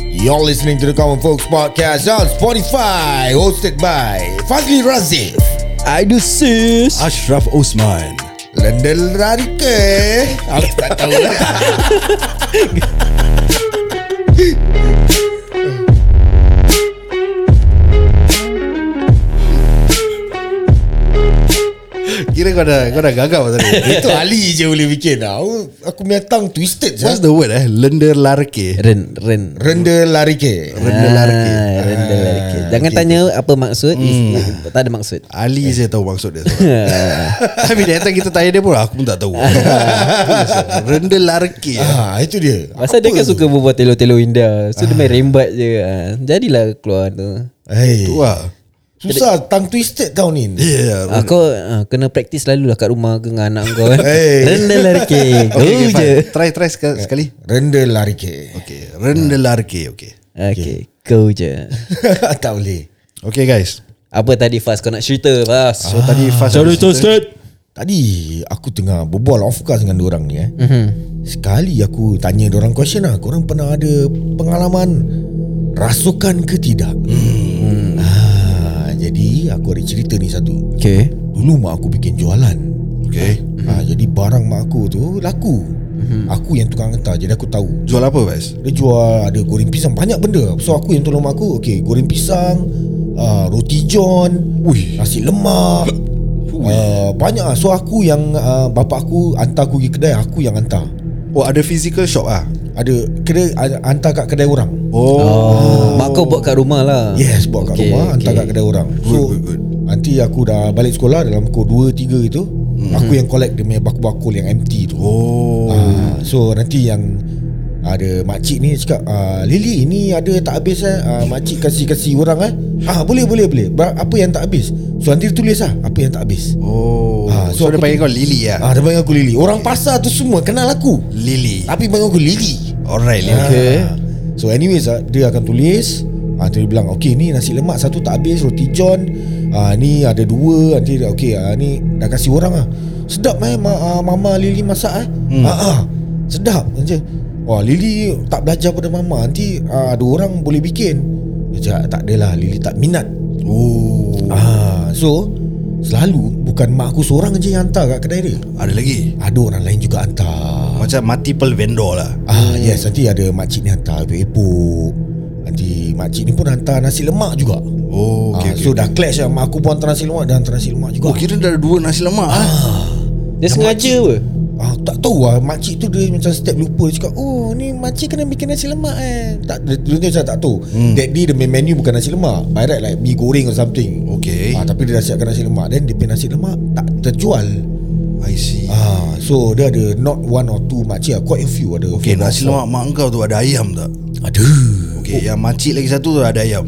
You're listening to the Common Folks Podcast on Spotify, hosted by Fazli Razif, Aidul Sis Ashraf Osman Lendel Radike. Aku tak tahu lah. Kira kau dah Kau dah gagal pasal ni Itu Ali je boleh bikin lah. Aku, aku punya tongue twisted What's je. the word eh Lender larke Ren Ren Rendel Larike. Lender larke ah, Renda Ah, larki Jangan okay, tanya apa maksud is, Tak ada maksud Ali je tahu maksud dia Tapi dia datang kita tanya dia pun Aku pun tak tahu Render larke Ah, itu dia. Pasal dia kan suka berbual telo-telo indah So dia main rembat je ah. Jadilah keluar tu Hey, Tu lah susah tongue twisted kau ni. Yeah Ah, kau ah, kena praktis selalu lah kat rumah ke dengan anak kau kan. Hey. Renda larki Go Okay, je okay fine. Try try sekali, sekali. Rendel Larike. Okay Render larke Okay Okay Go je tak boleh. Okay guys Apa tadi Fas kau nak cerita Fas So tadi fast Tadi aku tengah berbual off course dengan orang ni eh. Mm-hmm. Sekali aku tanya orang question lah, korang pernah ada pengalaman rasukan ke tidak? Hmm. Ah, jadi aku ada cerita ni satu. Okay Dulu mak aku bikin jualan. Okay Ah, jadi barang mak aku tu laku. Mm-hmm. Aku yang tukang hantar jadi aku tahu. Jual apa guys Dia jual ada goreng pisang banyak benda. So aku yang tolong mak aku, okey goreng pisang, uh, roti john, Ui nasi lemak. Uh, banyak lah So aku yang uh, Bapak aku Hantar aku pergi kedai Aku yang hantar Oh ada physical shop ah Ada Kedai ada- Hantar kat kedai orang Oh, Mak kau buat kat rumah lah Yes Buat kat Okay, rumah Hantar okay. kat kedai orang So good, good. Nanti aku dah balik sekolah Dalam pukul 2-3 itu Hmm. Aku yang collect Dia punya bakul-bakul yang empty tu Oh Ah, So nanti yang ada makcik ni cakap ah, Lily ini ada tak habis eh ah, Makcik kasih-kasih orang eh ah, Boleh boleh boleh Ber- Apa yang tak habis So nanti dia tulis lah Apa yang tak habis Oh Ah, so So, aku dia panggil kau Lily lah ah, Dia panggil aku Lily Orang pasar tu semua kenal aku Lily Tapi panggil aku Lily Alright Lily Okay. Ah. So anyways ah, Dia akan tulis ah, Dia bilang Okay ni nasi lemak Satu tak habis Roti john ah, Ni ada dua Nanti dia Okay ah, ni Dah kasih orang lah Sedap eh ma- ah, Mama Lily masak eh hmm. ah, ah, Sedap je Wah Lily tak belajar pada mama Nanti ah, ada orang boleh bikin Dia cakap tak adalah Lily tak minat Oh ah, So Selalu Bukan mak aku seorang je yang hantar kat kedai dia Ada lagi Ada orang lain juga hantar Macam multiple vendor lah Ah yes nanti ada makcik ni hantar epok-epok Nanti makcik ni pun hantar nasi lemak juga Oh okay, ah, okay, okay, okay. So dah clash lah Mak aku pun hantar nasi lemak Dia hantar nasi lemak juga Oh kira dah ada dua nasi lemak ah. Dia sengaja apa ah, Tak tahu lah Makcik tu dia macam step lupa Dia cakap Oh ni makcik kena bikin nasi lemak eh tak, dia, dia, dia macam tak tahu hmm. That day dia main menu bukan nasi lemak By right like mi goreng or something Okay ah, Tapi dia dah siapkan nasi lemak Then dia punya nasi lemak tak terjual I see ah, So dia ada not one or two makcik lah Quite a few ada Okay Four or nasi four. lemak mak kau tu ada ayam tak? Ada Okay yang makcik lagi satu tu ada ayam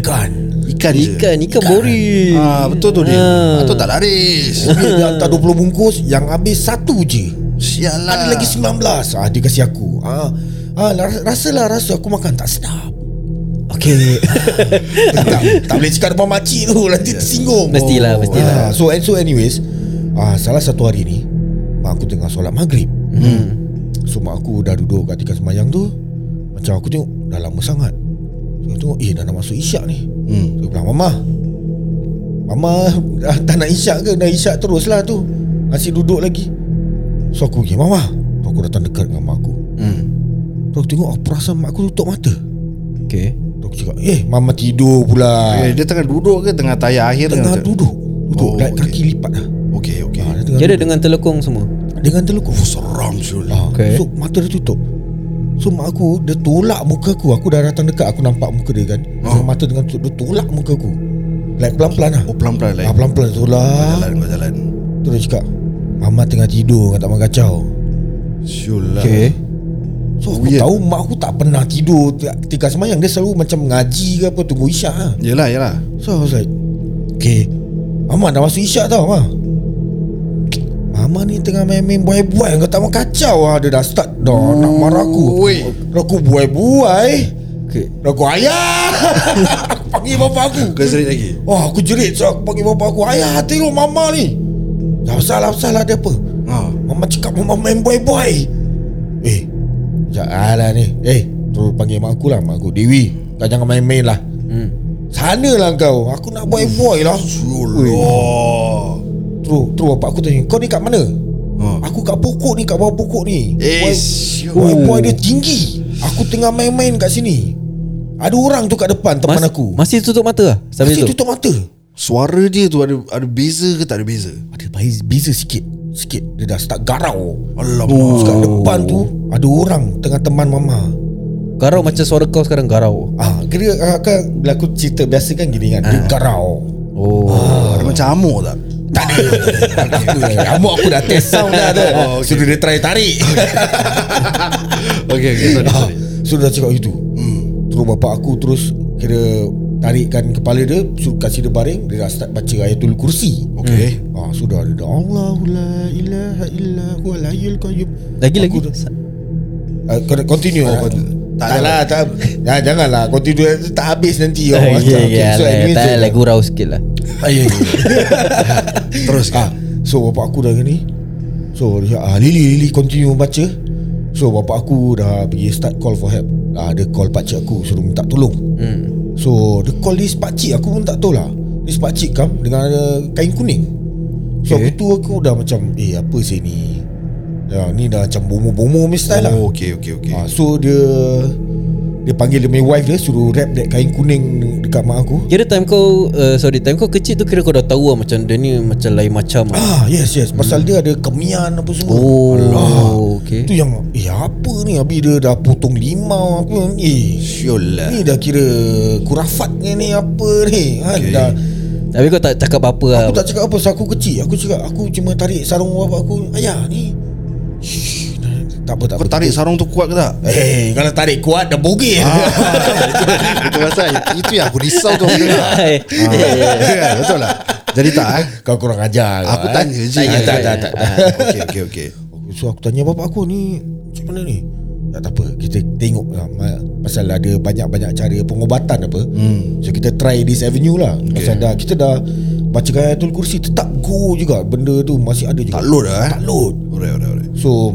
Ikan Oh. Ikan je Ikan Ikan boring ah, Betul tu dia Ah. Atau tak laris Dia dia hantar 20 bungkus Yang habis satu je Sialah Ada lagi 19 ah, Dia kasi aku ah, ah, la- Rasalah rasa aku makan tak sedap Okay tak, tak, tak boleh cakap depan makcik tu Nanti tersinggung Mestilah, mestilah. ah, So and so anyways ah, Salah satu hari ni Mak aku tengah solat maghrib hmm. So mak aku dah duduk kat tikas semayang tu Macam aku tengok Dah lama sangat So aku tengok Eh dah nak masuk isyak ni hmm. Dia bilang Mama Mama dah, dah nak isyak ke Dah isyak terus lah tu Masih duduk lagi So aku pergi Mama Tu Aku datang dekat dengan mak aku Hmm. Tu aku tengok aku Perasaan mak aku tutup mata Tu Okay aku cakap Eh Mama tidur pula Okay, Eh, dia tengah duduk ke tengah tayar akhir Tengah tengah duduk Duduk oh, Oh, okey. Kaki lipat lah Okay okay ha, dia tengah Dia ada duduk. dengan telekung semua Dengan telukuk Oh seram Syul ha, Okey. So mata dia tutup So mak aku Dia tolak muka aku Aku dah datang dekat Aku nampak muka dia kan so, Oh. Mata dengan tutup Dia tolak muka aku Like pelan-pelan lah Oh pelan-pelan lah Ah, Pelan-pelan tolak Jalan kau jalan Terus dia cakap Mama tengah tidur Kata mak kacau Kan? Syul lah So aku Weird. tahu Mak aku tak pernah tidur Ketika semayang Dia selalu macam ngaji ke apa Tunggu isyak lah Yelah yelah So I was like Okay Mama dah masuk isyak tau Mama Mama ni tengah main-main buai-buai Kau tak mau kacau lah Dia dah start Dah Oh, nak marah aku Ui. Dah aku buai-buai Okay Dah aku ayah Aku panggil bapak aku Kau serik lagi Wah aku jerit So aku panggil bapak aku Ayah tengok mama ni Dah salah salah dia apa Ha Mama cakap mama main boy-boy Eh Sekejap alah ah, ni Eh Terus panggil mak aku lah Mak aku Dewi Kau jangan main-main lah hmm. Sana lah kau Aku nak buat boy lah Syolah Terus Terus bapak aku tanya Kau ni kat mana Oh. Ha. Aku kat pokok ni Kat bawah pokok ni Eh, Oh. Boy, boy, syok. boy dia tinggi Aku tengah main-main kat sini Ada orang tu kat depan Teman aku Masih tutup mata lah Sampai Masih tu tutup mata Suara dia tu ada ada beza ke tak ada beza? Ada bayi beza sikit Sikit Dia dah start garau Alamak. Kat depan tu Ada orang Tengah teman mama Garau macam suara kau sekarang garau Ah, kira ah, kan bila aku cerita biasa kan gini kan. Ah. Dia garau. Oh Oh, ada macam amuk tak? Tak ada. Tak ada. Amok aku dah test sound dah tu. Oh, okay. Suruh dia try tarik. Okey okey sorry Ah, sorry. Hmm. Suruh dah cakap gitu. Terus bapak aku terus kira tarikkan kepala dia, suruh kasih dia baring, dia dah start baca ayatul kursi. Okey. Ah, sudah dia dah Allahu la ilaha illa huwal hayyul qayyum. Lagi lagi Aku Ah, kau nak continue Oh, oh, continue. Tak, tak lah tak, ya, Janganlah Continue Tak habis nanti ya Okay, okay, so Ah, alah, I mean, Tak so- Ya, lah gurau sikit lah Ayuh. Terus ya, Ah, kan. so bapak aku dah gini. So dia, ah, Lily Lily continue baca. So bapak aku dah pergi start call for help. Ah, dia call pakcik aku suruh minta tolong. hmm. So dia call this pakcik aku pun tak tahu lah. This pakcik kam dengan ada kain kuning. So okay. Okay. tu aku dah macam eh apa sih ni? Ya, ni dah macam bomo-bomo punya style lah. Oh okey okey okey. Ah, so dia dia panggil dia punya wife dia suruh wrap that kain kuning dekat mak aku. Kira time kau uh, Sorry time kau kecil tu Kira kau dah tahu lah Macam dia ni Macam lain macam lah Ah, yes yes. Pasal dia ada kemian apa semua. Oh Alah. Okay Tu yang Eh apa ni Habis dia dah potong limau apa Eh Syolah. Ni dah kira Kurafat ni ni apa ni ha, okay. Okey. dah, Tapi kau tak cakap apa-apa lah Aku tak cakap apa Pasal aku kecil Aku cakap Aku cuma tarik sarung bapak aku Ayah ni Shh, dah- Tak apa tak Kau apa tarik sarung tu kuat ke tak? Eh kalau tarik kuat Dah bogel ah. Itu pasal Itu yang aku risau tu aku dengar. Eh, eh, eh. Ah, Betul lah Jadi tak eh Kau kurang ajar kau, Aku eh. tanya Ah, je Ya, Tanya, Tak tanya. tak tak Okey okey okey So aku tanya bapak aku ni Macam mana ni "Ya, Tak, tak apa Kita tengok lah ma- Pasal ada banyak-banyak cara pengobatan apa hmm. So kita try this avenue lah okay. Pasal dah Kita dah Bacakan Ayatul Kursi Tetap go juga Benda tu masih ada juga Tak load lah eh Tak load Alright alright alright So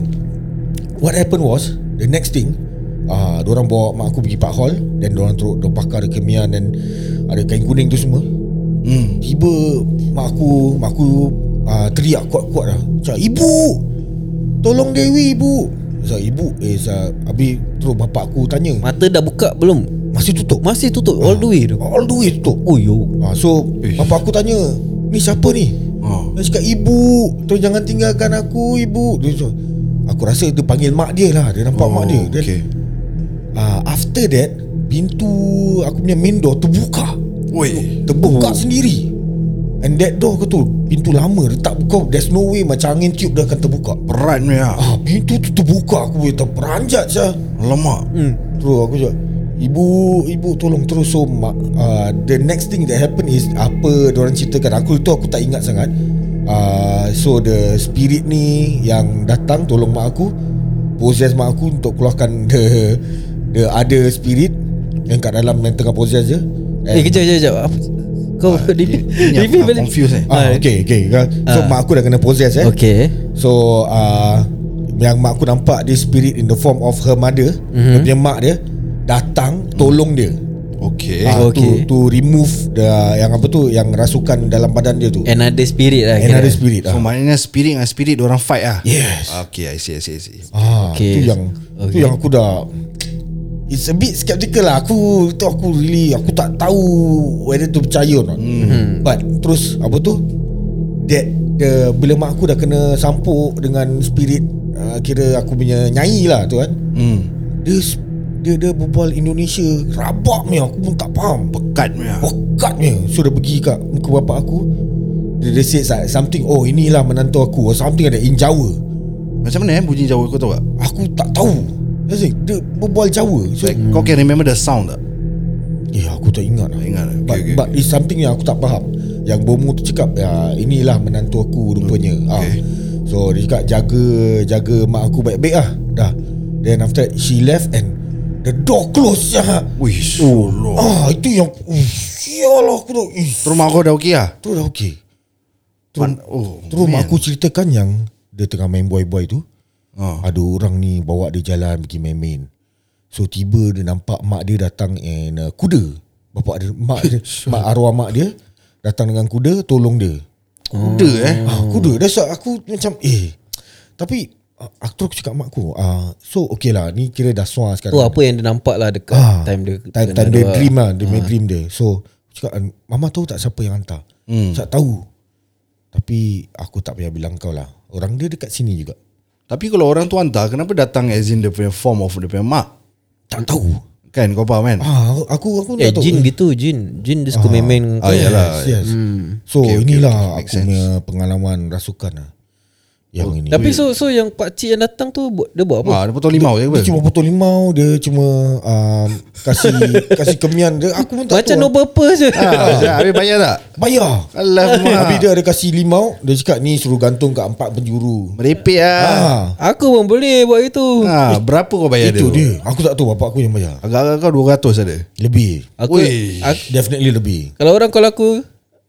What happened was The next thing Ah, uh, orang bawa mak aku pergi Park Hall Dan orang teruk Dia bakar ada kemian Dan ada kain kuning tu semua Hmm Tiba mak aku, mak aku uh, teriak kuat-kuat lah. Macam, ibu! Tolong Dewi, ibu! Saya ibu, eh saya, habis terus bapak aku tanya. Mata dah buka belum? Masih tutup. Masih tutup All the way tu All the way tutup. Oh yo Uh, so, Ish. bapak aku tanya, ni siapa ni? Oh Dia cakap, ibu, tolong jangan tinggalkan aku, ibu. Dia cakap, aku rasa dia panggil mak dia lah. Dia nampak Oh, mak dia. Dia okey. Ah, after that Pintu Aku punya main door terbuka Oi. Terbuka oh. sendiri And that door ke tu Pintu lama Dia tak buka There's no way Macam angin tiup dia akan terbuka Peran dia ah. Ah, Pintu tu terbuka Aku boleh terperanjat sah Alamak hmm. Terus aku cakap Ibu Ibu tolong Terus so mak, uh, The next thing that happen is Apa orang ceritakan Aku tu aku tak ingat sangat uh, So the spirit ni Yang datang Tolong mak aku Possess mak aku Untuk keluarkan The The other spirit Yang kat dalam Yang tengah possess je And- Eh kejap kejap kejap Apa? Kau repeat Repeat Ini aku- aku balik confused eh Ah, okay, okay. So Ah. mak aku dah kena possess eh. Okay So uh, Yang mak aku nampak Dia spirit in the form of her mother mm-hmm. Dia Mhm. punya mak dia Datang Tolong dia Eh, Okay Ah, To, okay. to remove the, Yang apa tu Yang rasukan dalam badan dia tu Another spirit lah Another kira. spirit ah. So maknanya spirit dengan spirit Diorang fight lah Yes. Okay I see I see I see ah, Tu Okay. yang Tu Okay. yang aku dah It's a bit skeptical lah Aku Tu aku really Aku tak tahu Whether to percaya or not Hmm. mm-hmm. But Terus Apa tu That the, Bila mak aku dah kena Sampuk dengan spirit uh, Kira aku punya Nyai lah tu kan Hmm Dia dia dia berbual Indonesia rabak ni aku pun tak faham. Pekat dia Pekat ni. So dia pergi kat muka bapak aku. Dia dia said like something oh inilah menantu aku or something ada in Jawa. Macam mana eh bunyi Jawa kau tahu tak? Aku tak tahu. Dia say, dia berbual Jawa. So Like, Kau can remember the sound tak? eh aku tak ingat lah. Tak ingat lah. Okay, But, okay, but it's something yang aku tak faham. Yang bomo tu cakap ya inilah menantu aku rupanya. Hmm, Okay. Ah. So dia cakap jaga jaga mak aku baik-baik lah. Dah. Then after that she left and the door close. Ya. Wih Solo Ah itu yang uh, Sial aku tu eh, Oh. Terus mak kau dah okey lah? Tu dah okey Man- Oh Terus mak aku ceritakan yang Dia tengah main boy-boy tu Ah. Ada orang ni Bawa dia jalan Pergi main-main So tiba dia nampak mak dia datang and uh, kuda. Bapak dia mak dia, mak arwah mak dia datang dengan kuda tolong dia. Kuda eh Ah, Hmm. kuda. That's why aku macam eh tapi ah, aku terus cakap mak aku. Ah, so okay lah ni kira dah suar sekarang. Tu apa yang dia nampak lah dekat Ah, time dia time, kena Ah. time dia doa. dream lah dia ha. dream dia so aku cakap mama tahu tak siapa yang hantar hmm. tak tahu tapi aku tak payah bilang kau lah orang dia dekat sini juga Tapi kalau orang tu hantar Kenapa datang as in Dia punya form of Dia punya mark tak tahu Kan kau faham kan ah aku aku Hmm. Eh tak tahu jin gitu Jin Jin dia suka main-main dengan Ah, kau. ya. yalah. yes, yes. so okay, Okay, okay, inilah okay, okay, make aku punya pengalaman rasukan lah yang oh, ini Tapi so so yang pak cik yang datang tu buat- dia buat apa? Ah, dia potong limau je apa? dia cuma potong limau dia cuma um, kasih kasih kemian dia aku pun tak Macam tahu noble purpose je. Ah, habis bayar tak? bayar Habis Alamak. dia ada kasih limau Dia cakap ni suruh gantung kat empat penjuru Merepek ah. ah. Aku pun boleh buat itu. ah. berapa kau bayar Itu dia? dia Aku tak tahu bapak aku yang bayar Agak-agak kau 200 ada. Lebih Aku, Weh. aku Definitely lebih kalau orang kalau aku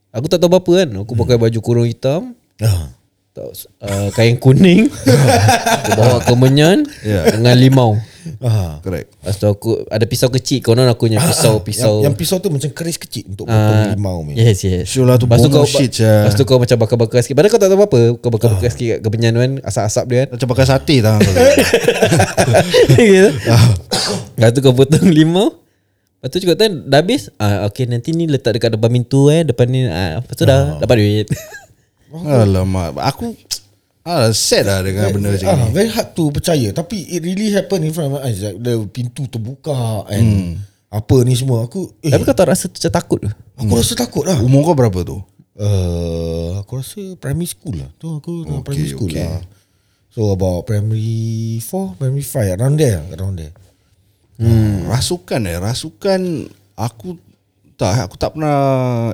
aku tak tahu apa-apa kan. Aku pakai baju kurung hitam, ah. tak, uh, kain kuning. aku bawa kemenyan Ya. dengan limau. Ah. Correct. Lepas tu aku ada pisau kecil konon aku punya Ah, Yang, pisau-pisau. yang pisau tu macam keris kecil Untuk potong Ah, limau ni Yes yes Sure lah tu Lepas tu bono kau shit Ah. je. Lepas tu kau macam bakar-bakar sikit Padahal kau tak tahu apa-apa Kau bakar-bakar sikit kat kemenyan tu kan Asap-asap dia kan Macam pakai sate tangan kau. Ya gitu. Lepas tu kau potong limau Lepas tu cukup time Dah habis ah, Okay nanti ni letak dekat depan pintu eh Depan ni ah, Lepas tu dah Dapat duit Alamak. Aku ah, sad lah dengan benda macam ah, ni. Very hard to percaya Tapi it really happen In front of my eyes like The pintu terbuka Hmm. And Apa ni semua Aku eh, Tapi kau tak rasa macam takut ke? Aku rasa takut lah Umur kau berapa tu? uh, Aku rasa primary school lah Tu aku okay, primary school okay. okay. lah So about primary 4 Primary 5 Around there Around there Hmm. Rasukan eh. Rasukan aku tak aku tak pernah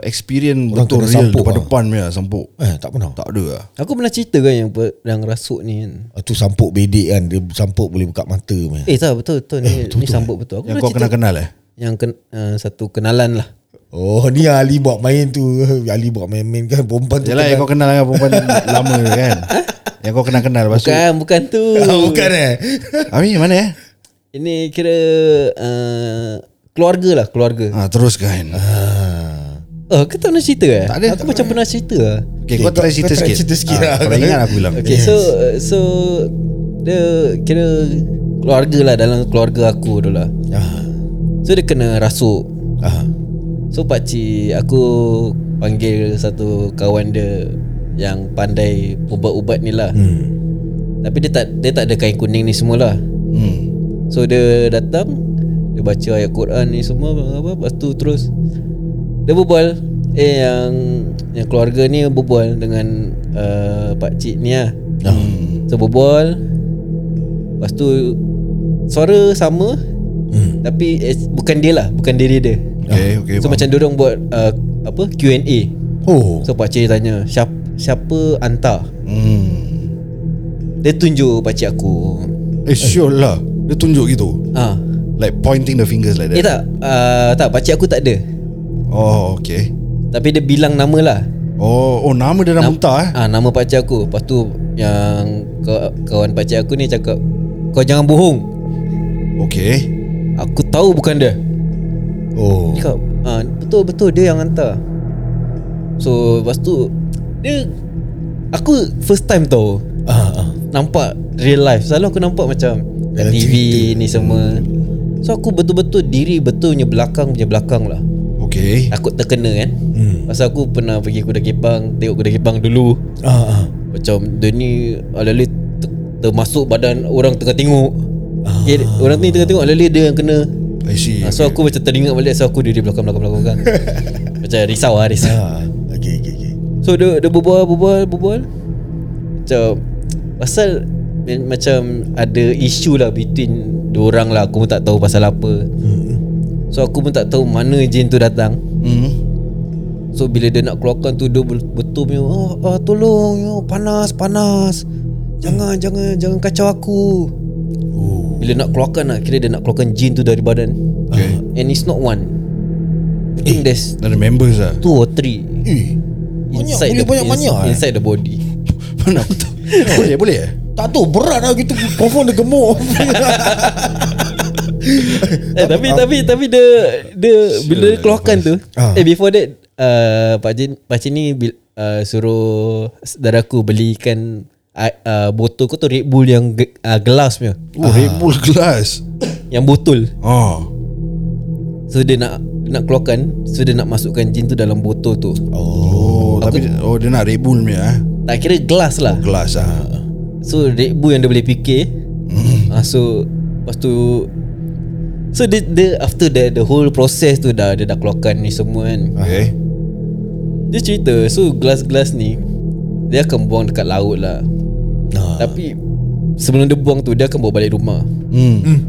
experience Orang betul kena real sampuk depan-depan punya sampuk. Eh tak pernah Tak ada lah. Aku pernah cerita kan yang, pe- yang rasuk ni kan Ah, Tu sampuk bedek kan Dia sampuk boleh buka mata punya. Eh tak betul betul ni, ni sambut betul Aku Yang pernah kau cerita kena kenal eh. Yang ken, uh, satu kenalan lah Oh ni Ali buat main tu Ali buat main-main kan Perempuan tu Yalah yang kau kenal dengan perempuan lama tu kan. Yang kau kena kenal lepas tu. Bukan bukan tu Ah, Bukan eh Amin mana eh? Ini kira uh, Keluarga lah keluarga Ha, teruskan. Oh kau tak pernah cerita eh? Tak ada, Aku macam pernah cerita lah Okay, kau try cerita try sikit. cerita sikit Ah, lah. Kalau ingat aku bilang. Okay so uh, So Dia Kira Keluarga lah Dalam keluarga aku tu lah ah, So dia kena rasuk ah, So pakcik Aku Panggil satu kawan dia Yang pandai Ubat-ubat ni lah hmm. Tapi dia tak Dia tak ada kain kuning ni semua lah Hmm. So dia datang Dia baca ayat Quran ni semua apa, Lepas tu terus Dia berbual Eh yang Yang keluarga ni berbual Dengan uh, Pakcik ni lah Hmm. So berbual Lepas tu Suara sama Hmm. Tapi eh, Bukan dia lah Bukan diri dia Okay, okay. So faham. macam dorong buat uh, Apa Q&A Oh So pakcik tanya Siapa, siapa hantar Hmm. Dia tunjuk pakcik aku Eh, sure lah. Dia tunjuk gitu. Ah, Like pointing the fingers like Eh tak that. uh, Tak pakcik aku tak ada Oh, okay. Tapi dia bilang nama lah Oh, oh nama dia dah muntah eh. ah, Nama pakcik aku Lepas tu Yang ka- Kawan pakcik aku ni cakap Kau jangan bohong Okay. Aku tahu bukan dia Oh Cakap ah, Betul betul dia yang hantar So Lepas tu Dia Aku first time tau ah, ah. Nampak real life Selalu aku nampak macam Kat Dalam TV ni semua So aku betul-betul diri betul punya belakang punya belakang lah Okay. Takut terkena kan Hmm. Pasal aku pernah pergi kuda kepang Tengok kuda kepang dulu Ah, ah. Macam dia ni Alali ter- termasuk badan orang tengah tengok ah. okay, Orang ni tengah tengok Alali dia yang kena I see. yeah, So aku macam teringat balik So aku dia di belakang-belakang-belakang kan. Macam risau lah risau Ah, okay, okay, okay. So dia, dia berbual berbual berbual Macam Pasal ma- Macam ada isu lah between Diorang lah Aku pun tak tahu pasal apa Hmm. So aku pun tak tahu mana jin tu datang Hmm. So bila dia nak keluarkan tu Dia bet- betul punya oh, oh, Tolong yo, Panas Panas Jangan jangan Jangan kacau aku Oh. Bila nak keluarkan lah Kira dia nak keluarkan jin tu dari badan Ah, Okay. And it's not one I think there's Ada members lah. Two or three Eh, Inside boleh banyak ins- banyak, eh? Inside the body Mana aku tahu. boleh, boleh eh? tak tahu berat lah gitu. Confirm dia gemuk. eh, tapi tapi tapi dia dia bila dia keluarkan tu Ah. eh before that uh, pak Jin pak Jin ni bil- uh, suruh saudara aku belikan uh, uh, botol kau tu Red Bull yang ge- uh, gelas punya Oh, Red Bull glass. yang botol Oh. so dia nak nak keluarkan so dia nak masukkan jin tu dalam botol tu Oh, tapi oh dia nak Red Bull punya eh. tak kira gelas lah Glass ah. So Red Bull yang dia boleh fikir ah, So Lepas tu So dia, dia After the, the whole process tu dah Dia dah keluarkan ni semua kan Okay. Dia cerita So gelas-gelas ni Dia akan buang dekat laut lah Ah. Tapi Sebelum dia buang tu Dia akan bawa balik rumah Hmm.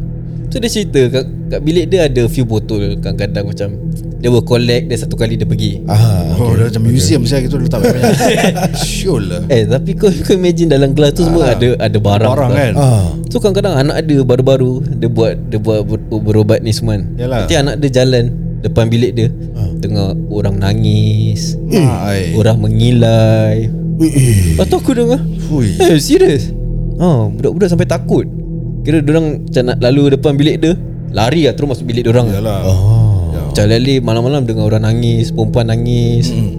So dia cerita kat, kat bilik dia ada few botol Kadang-kadang macam Dia will collect Dia satu kali dia pergi Ah, Oh, dah macam museum saya kita letak banyak. Sure lah. Eh tapi kau, kau imagine dalam gelas tu semua ada ada barang Ah. Barang tau. kan. ah. So kadang-kadang anak dia baru-baru Dia buat Dia buat ber- berubat ni semua kan Yalah. Nanti anak dia jalan Depan bilik dia Tengah orang nangis Ah, ai. Orang mengilai Eh, Lepas tu aku dengar Fui. Eh serius ha, Budak-budak sampai takut Kira orang macam nak lalu depan bilik dia Lari lah terus masuk bilik orang. Yalah. Ah. Macam lali malam-malam dengar orang nangis Perempuan nangis Hmm.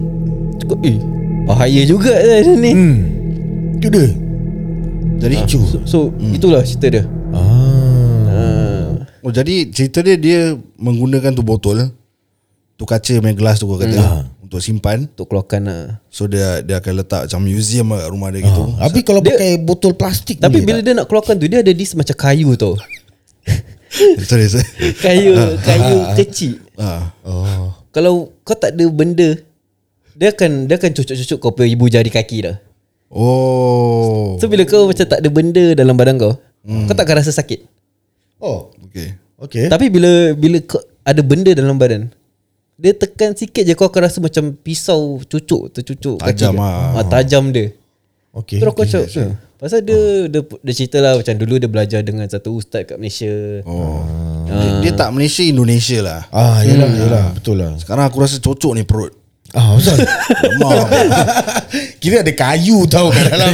Cakap eh Bahaya juga lah dia ni Hmm. Tu dia. Jadi So, so itulah cerita dia Ah. ha. Oh jadi cerita dia dia menggunakan tu botol tu kaca main gelas tu kau kata untuk simpan. Untuk keluarkan lah So dia dia akan letak macam museum lah kat rumah dia gitu. Tapi kalau pakai botol plastik Tapi boleh bila tak? dia nak keluarkan tu Dia ada this macam kayu tau Sorry saya. Kayu Kayu kecil Ah. oh. Ha. Kalau kau tak ada benda Dia akan Dia akan cucuk-cucuk kau punya ibu jari kaki dah Oh. So bila kau macam tak ada benda dalam badan kau Kau tak akan rasa sakit Oh. Okay. Okay. Tapi bila Bila kau ada benda dalam badan Dia tekan sikit je kau akan rasa macam Pisau cucuk Tercucuk kaki Tajam kau. ah. ah. Tajam dia Okay. Terus kau cakap "Eh, Pasal dia, dia Dia cerita lah Macam dulu dia belajar Dengan satu ustaz kat Malaysia Oh. Dia, dia tak Malaysia Indonesia lah. Ah, yalah, yalah, betul lah. Sekarang aku rasa cocok ni perut. Ah, betul. Lemah. Kira ada kayu tau kat dalam.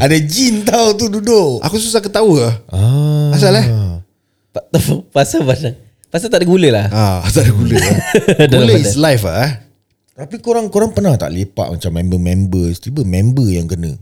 ada jin tau tu duduk. aku susah ketawa. lah. Ah. Asal eh? Pa- Pasal pasal Pasal tak ada gula lah Ah, tak ada gula. lah. Dalam gula badan. is life ah. eh. Tapi korang korang pernah tak lepak macam member-member tiba member yang kena.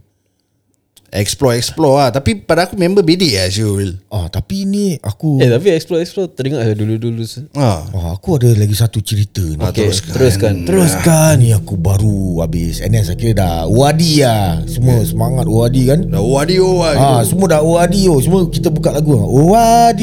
Explore explore ah. Tapi pada aku member bedek ah Syul. Ah, tapi ni aku Eh tapi explore explore Teringat lah dulu-dulu se- Ah. ah, aku ada lagi satu cerita ni. Ah, Okay teruskan. teruskan Teruskan Ni aku baru habis NS Akhirnya dah OAD lah Semua semangat OAD kan Dah wadio Ah, ah. semua dah OAD oh. Semua kita buka lagu ah. OAD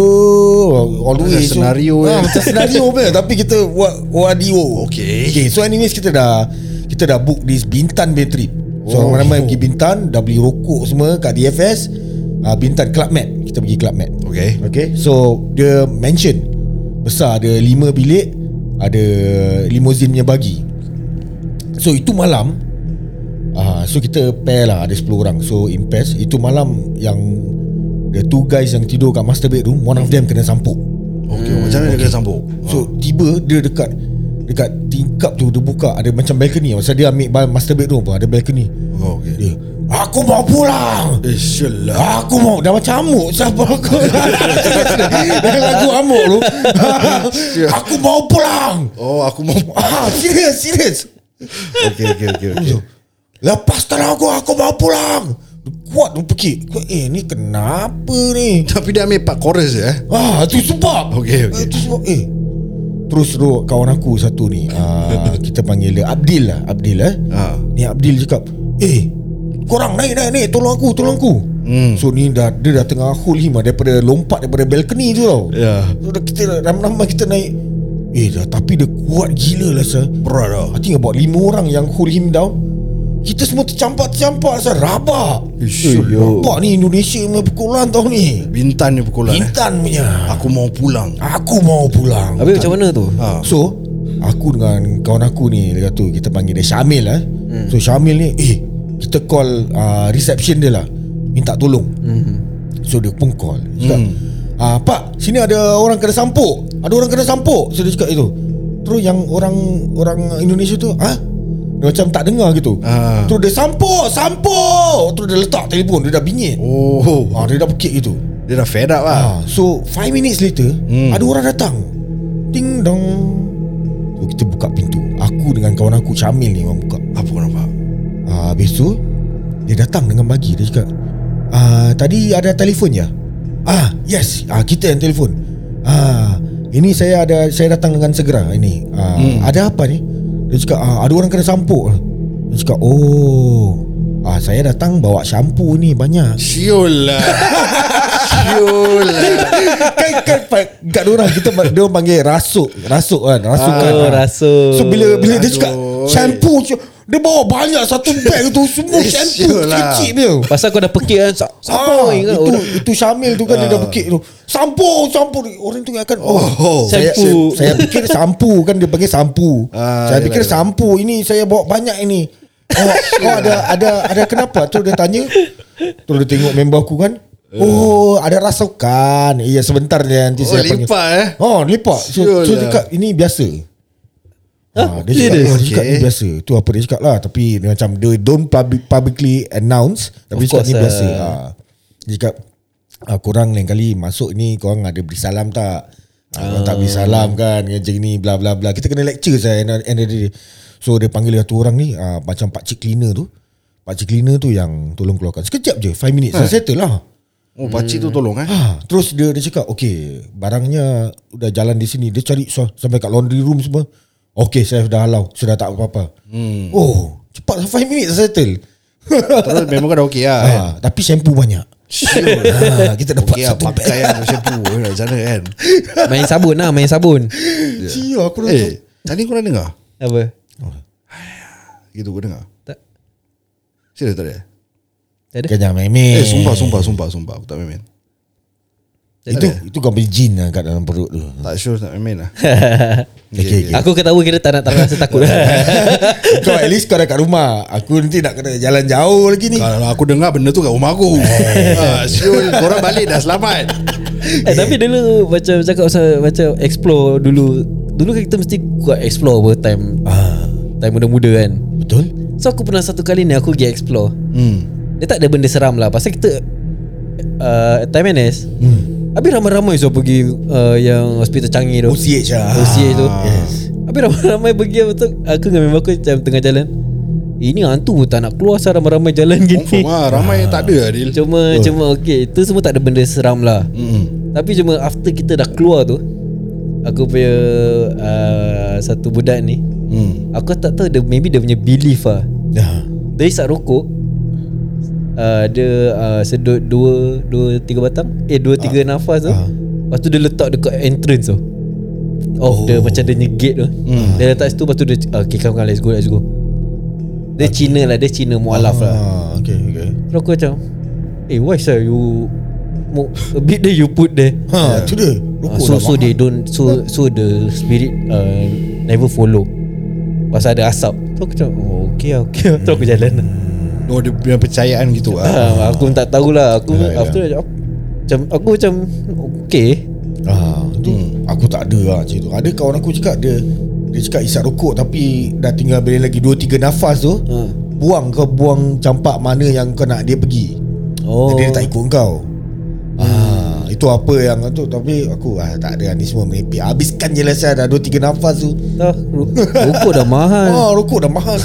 oh. All the way Macam senario so, eh. ah, Macam senario pun Tapi kita buat OAD oh. Okay. okay So anyways kita dah Kita dah book this Bintan Bay Trip So oh. ramai-ramai pergi Bintan Dah beli rokok semua kat DFS ah, Bintan Club Med Kita pergi Club Med Okay. Okay So dia mansion Besar ada lima bilik Ada limousine punya bagi So itu malam uh, So kita pair lah Ada 10 orang So impress Itu malam yang The two guys yang tidur kat master bedroom One of them kena sampuk Okay, macam mana dia kena sambung? So tiba dia dekat Dekat tingkap tu Dia buka Ada macam balcony Pasal dia ambil ba- master bedroom apa Ada balcony Oh, okay. Dia Aku mau pulang Eh, Syul lah. Aku mau Dah macam amuk Siapa aku Dah lagu amuk tu Aku mau pulang Oh, aku mau ah, Serius Serius Okay, okay, okay, Ya. okay. Lepas tanah aku Aku mau pulang Kuat tu pergi Kau, Eh ni kenapa ni Tapi dia ambil part chorus je eh. Ah tu sebab Okey, okey. ah, tu sebab Eh Terus tu kawan aku satu ni ah, Kita panggil dia Abdil lah Abdil eh Ah. Ni Abdil cakap Eh Korang naik naik naik Tolong aku Tolong aku Hmm. So ni dah Dia dah tengah hold him lah Daripada lompat Daripada balcony tu tau Ya. So dah kita Ramai-ramai kita naik Eh dah tapi dia kuat gila lah sah Berat lah. I think about lima orang yang hold him down Kita semua tercampak-tercampak sah Rabak Ish, Eh, Rabak ni Indonesia punya pukulan tau ni Bintan ni pukulan eh. Bintan punya Aku mau pulang. Aku mau pulang Habis macam mana tu Ha. So Aku dengan kawan aku ni Dia kata kita panggil dia Syamil eh. hmm. So Syamil ni Eh kita call uh, reception dia lah Minta tolong hmm. So dia pun call Dia cakap ah, Pak sini ada orang kena sampuk Ada orang kena sampuk So dia cakap itu Terus yang orang Orang Indonesia tu Ha? Dia macam tak dengar gitu Ah. Terus dia sampuk Sampuk Terus dia letak telefon Dia dah bingit Oh. ha, Dia dah pekik gitu Dia dah fed up Ah, lah so 5 minutes later hmm. Hmm. Ada orang datang Ding dong so, Kita buka pintu Aku dengan kawan aku Syamil ni orang buka Apa kau nampak ah, Habis tu Dia datang dengan bagi Dia cakap ah, Tadi ada telefon ya Ah yes ah, Kita yang telefon ah, Ini saya ada Saya datang dengan segera ini ah, Hmm. Ada apa ni Dia cakap ah, Ada orang kena sampuk Dia cakap oh ah, Saya datang bawa shampoo ni banyak Siul lah Siul lah kan kan pa- kat orang kita ma- dia orang panggil rasuk rasuk kan rasukan Oh, Ah. rasuk. so bila bila dia cakap Aduh. shampoo sh- dia bawa banyak satu bag tu semua Eh, shampoo sure lah. kecil dia Pasal kau dah pekik kan sa- Ah, Sampoi kan itu orang- itu Syamil tu kan dia dah pekik tu. Sampo, sampo orang tu akan Oh, saya, saya, Shampoo. saya fikir sampu kan dia panggil sampu. Ah, saya yelah, fikir yelah. sampu ini saya bawa banyak ini. Oh, oh ada ada ada kenapa tu dia tanya. Tu dia tengok member aku kan. Oh, ada rasukan. Iya sebentar dia nanti Oh, saya panggil. lipat eh Oh lepak So, Sure so lah. dia cakap ini biasa Hah? ha, Dia cakap, Serious? oh, dia cakap Okay. ini biasa Tu apa dia cakap lah Tapi dia macam Dia don't public, publicly announce Tapi dia Of cakap course ni lah. biasa ha. Dia cakap ah, Korang lain kali masuk ni Korang ada beri salam tak ah, Korang tak beri salam kan Macam ni bla bla bla Kita kena lecture saya End of end of the day So dia panggil satu orang ni ah, Macam pakcik cleaner tu Pakcik cleaner tu yang Tolong keluarkan Sekejap je 5 minutes Saya settle lah Oh pakcik tu tolong eh Ah, terus dia dia cakap, "Okey, barangnya udah jalan di sini. Dia cari so, sampai kat laundry room semua. Okey, saya dah halau. Sudah tak apa-apa." Hmm. Oh, cepat 5 minit settle. Terus memang kau dah okey lah eh. ah, tapi shampoo banyak. Siul lah ah, kita dapat Okey lah satu bag. pakaian shampoo eh, Kat sana kan Main sabun lah Main sabun Cia, aku dah Eh Tadi korang dengar Apa Gitu kau dengar Tak Serius tak ada Tak ada Kan jangan main-main Eh sumpah sumpah sumpah sumpah Aku tak main-main Tak Itu itu kau beli jin lah kat dalam perut tu Tak sure tak main-main lah okay, okay. Aku ketawa kira tak nak tak rasa takut Eh, Kau at least kau dah kat rumah Aku nanti nak kena jalan jauh lagi ni Kalau aku dengar benda tu kat rumah aku ha, Siul korang balik dah selamat eh, Tapi dulu Macam cakap pasal Macam explore dulu Dulu kan kita mesti Kuat explore apa Time ah, Time muda-muda kan Betul? So aku pernah satu kali ni Aku pergi explore hmm. Dia tak ada benda seram lah Pasal kita uh, Time NS hmm. Habis ramai-ramai so pergi uh, Yang hospital canggih tu OCH lah OCH tu Yes. Habis ramai-ramai pergi apa tu Aku dengan member aku Macam tengah jalan Ini hantu pun tak nak keluar Asal ramai-ramai jalan Confirm gini lah Ramai tak ada lah Dil Cuma oh. Cuma okay Itu semua tak ada benda seram lah hmm. Tapi cuma after kita dah keluar tu Aku punya uh, Satu budak ni Hmm. Mm. Aku tak tahu dia, Maybe dia punya belief lah Dah Dia isap rokok uh, Dia uh, sedut dua Dua tiga batang Eh dua tiga nafas tu Ah. Lepas tu dia letak dekat entrance tu Oh, oh. dia macam dia punya gate tu Mm. Hmm. Dia letak situ Lepas tu dia uh, Okay come come let's go let's go Dia Cina lah Dia Cina mualaf lah ah, Okay okay Terus aku macam Eh why sir you mo- A bit there you put there Ha, yeah. tu dia. Ah, Rokok so dah so mahal. they don't so so the spirit uh, never follow pasal ada asap tu aku macam oh, okay lah, okay lah. tu aku jalan lah Oh dia punya percayaan gitu lah Ah, aku tak tahulah aku Yalah, yalah. after that, macam aku macam okay Ah, tu aku tak ada lah macam tu. Ada kawan aku cakap dia dia cakap isap rokok tapi dah tinggal bila lagi 2 3 nafas tu. Ha. Buang kau buang campak mana yang kau nak dia pergi. oh Oh. Jadi dia tak ikut kau. Ah, itu apa yang tu tapi aku ah tak ada ni semua menipu. Habiskan je lah saya dah 2 3 nafas tu. dah ru- rokok dah mahal Ah, rokok dah mahal.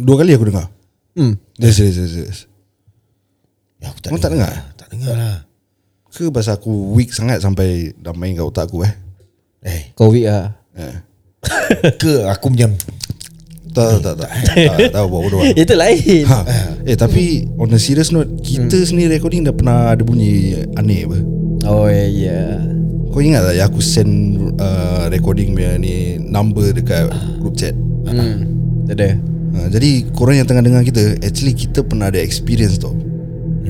Dua kali aku dengar hmm. Dia serius serius, serius ya, aku Kau tak dengar? Tak dengar lah. Ke pasal aku weak sangat Sampai dah main kat otak aku eh Eh, covid ah Eh. ke aku macam Tak tak tak tak Tak tahu buat bodoh lah. itu lain ha. Eh tapi On a serious note Kita sendiri recording dah pernah Ada bunyi aneh apa oh ya yeah. Kau ingat tak yang aku send uh, Recording punya ni Number dekat group chat hmm. tak ada Ha, jadi korang yang tengah dengar kita Actually kita pernah ada experience tau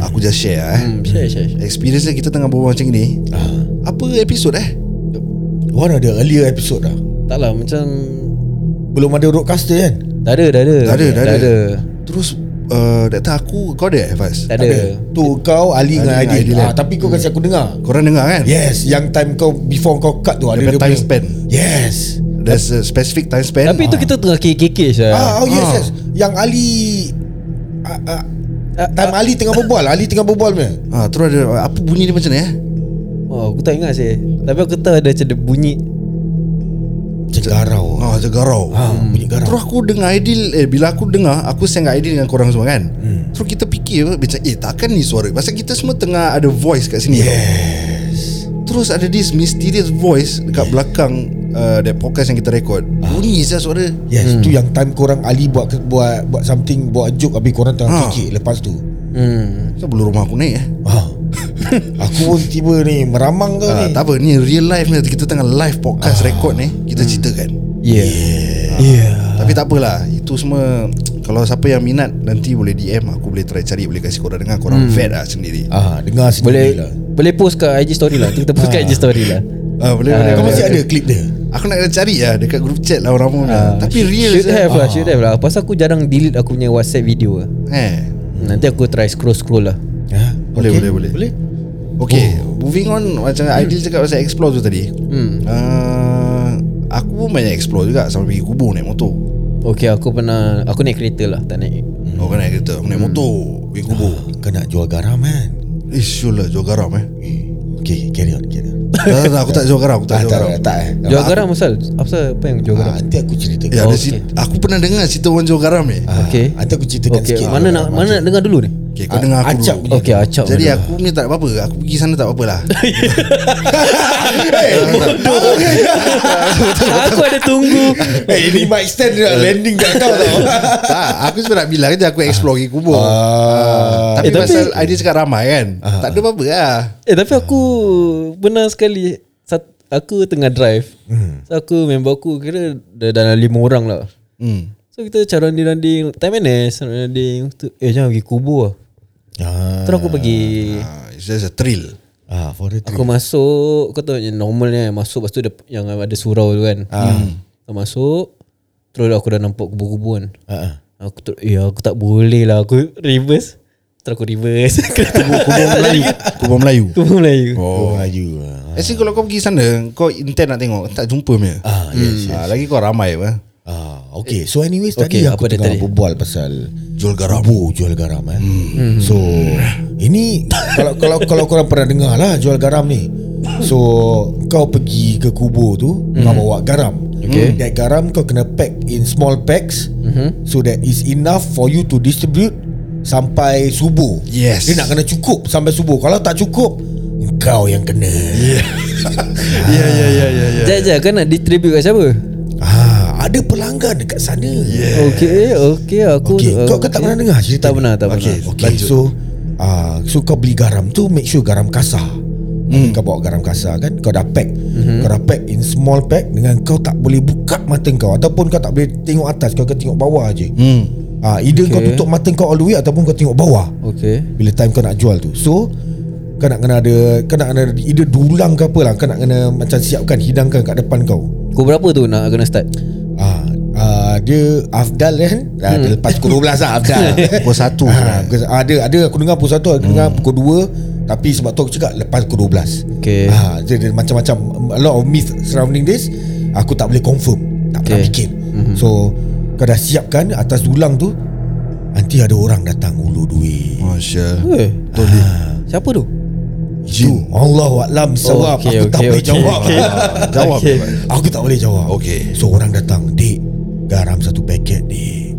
Aku just share lah, eh hmm. share share share. Experience dia kita tengah berbual macam ni ah, Apa episod eh? one of the earlier episode dah. tak lah macam Belum ada roadcaster kan? tak ada tak ada Tak ada, tak ada. tak ada, Terus uh, data aku Kau ada eh Faz? tak Tak ada. ada. Tu kau Ali dengan Ali dengan Aidil. Aidil, Ah, kan? tapi kau kasi aku dengar. Korang dengar kan? Yes, yang time kau before kau cut tu ada Dia punya time punya- span Yes. There's a specific time span Ya. Tapi itu kita tengah KKK Syah Ah, oh yes, Ah. yes. Yang Ali ah, ah, Ah, Time Ali tengah berbual Ali tengah berbual punya Ha, terus ada apa bunyi dia macam ni eh? Oh, aku tak ingat sih. Tapi aku tahu ada macam dia bunyi. Macam garau Ha, dia garau. ha, Bunyi garau Terus aku dengar Aidil eh, Bila aku dengar Aku share dengan Aidil dengan korang semua kan hmm. Terus kita fikir apa, Macam eh takkan ni suara Pasal kita semua tengah ada voice kat sini kan? Yes Terus ada this mysterious voice Dekat belakang uh, That podcast yang kita record Bunyi saya suara Yes tu yang time korang Ali buat buat buat something Buat joke Habis korang Ha. tengah fikir Lepas tu Hmm. Pasal belum rumah aku naik eh ha. Aku pun tiba ni Meramang kau uh, ni Tak apa ni real life ni Kita tengah live podcast record ni Kita ceritakan Yeah. Yeah Tapi tak apalah Itu semua Kalau siapa yang minat Nanti boleh DM Aku boleh try cari Boleh kasih korang dengar Korang vet lah sendiri Ah, dengar Boleh sendiri lah boleh post kat IG story lah. Kita post kat IG story lah. Ah, boleh, boleh, Kau boleh. masih ada klip dia Aku nak kena cari lah Dekat group chat lah orang pun uh, Tapi real Ah, Should je. have lah, should have lah. Pasal aku jarang delete aku punya WhatsApp video lah. Eh Nanti aku try scroll-scroll lah. ha? Boleh, boleh, boleh. Boleh Okay oh. Moving on Macam Aidil cakap pasal explore tu tadi Hmm. uh, Aku pun banyak explore juga Sampai pergi kubur naik motor Okay, aku pernah aku naik kereta lah, tak naik. Oh kau naik kereta Aku naik motor Pergi kubur Oh, Kau nak jual garam kan Eh syul lah Ah. jual garam eh Okay carry on carry on tak, tak, tak, aku tak jual garam Aku Tak tak jual tak garam tak, tak eh. Jual garam pasal apa apa yang jual Ah, garam? Nanti aku cerita Ya, ada Oh, si, okay. Aku pernah dengar cerita orang jual garam ni Ah, Okey. Nanti aku ceritakan Okay, sikit lah. mana nak mana nak dengar dulu ni? Okay kau Ah, dengar aku acap dulu punya. Okay, acap. Jadi dulu. aku ni tak apa-apa Aku pergi sana tak apa-apa lah Eh, aku ada tunggu. Eh ini mic stand dia nak landing kat kau lah. tau tak, aku sebenarnya nak bilang je aku explore pergi kubur. Ah. tapi, Eh, tapi- pasal idea cakap ramai kan. tak ada apa-apa lah. Eh tapi aku pernah sekali sat, aku tengah drive. So aku member aku kira dah dalam lima orang lah. Hmm. So kita cara randing-randing Time NS Randing Eh jangan pergi kubur lah Ah, Terus aku pergi Ah, it's just a thrill. ah for the Aku masuk Kau tahu yang normalnya Masuk lepas tu ada- Yang ada surau tu kan Ah. Aku masuk Terus aku dah nampak kubur-kubur kan Ah, ah. Aku terus Eh aku tak boleh lah Aku reverse Terus aku reverse Kubur Melayu. kubur Melayu. Kubur Melayu Oh, ayu. Ah. Actually kalau kau pergi sana, kau intent nak tengok, tak jumpa punya. Ah, yes. Ah, lagi kau ramai apa. Ah, okay. So anyways Okay, tadi aku apa dia tengah tadi? berbual pasal jual garam. Kubu jual garam eh. So ini kalau kalau kalau korang pernah dengar lah jual garam ni. So kau pergi ke kubur tu kau bawa garam. Okay. That garam kau kena pack in small packs so that is enough for you to distribute sampai subuh. Yes. Dia nak kena cukup sampai subuh. Kalau tak cukup kau yang kena. Yeah. Ya, ya, ya, ya, Jajah kan nak distribute kat siapa Ah, ada pelanggan dekat sana. Yeah. Okay Okay eh, Eh. aku Okey, kau kau okay. tak pernah dengar cerita Tak ni? pernah tak Okey, pernah okey. So uh, so kau beli garam tu make sure garam kasar. Hmm. Kau bawa garam kasar kan Kau dah pack Kau dah pack in small pack Dengan kau tak boleh buka mata kau Ataupun kau tak boleh tengok atas Kau akan tengok bawah je Hmm. ha, Either kau Okay. tutup mata kau all the way Ataupun kau tengok bawah Okay Bila time kau nak jual tu So Kau nak kena ada Kau nak kena Either dulang ke apa lah Kau nak kena macam siapkan Hidangkan kat depan kau Kau berapa tu nak kena start Ah, ah, dia Afdal kan ah, Hmm. dia Lepas pukul 12 lah Afdal Pukul satu. ah, pukul- ah, Ada ada aku dengar pukul 1 Hmm. Aku dengar pukul 2 Tapi sebab tu aku cakap Lepas pukul 12 Okay. ah, dia, dia, Macam-macam A lot of myth surrounding this Aku tak boleh confirm Tak pernah Okay. Hmm. fikir So Kau dah siapkan Atas dulang tu Nanti ada orang datang ulu duit Masya. Eh ah, Siapa tu Jin Allah Alam Sawab Hmm. Okay, Aku tak okay, boleh okay, jawab okay. Jawab. Okay. Aku tak boleh jawab Okey. So orang datang Dik Garam satu paket dik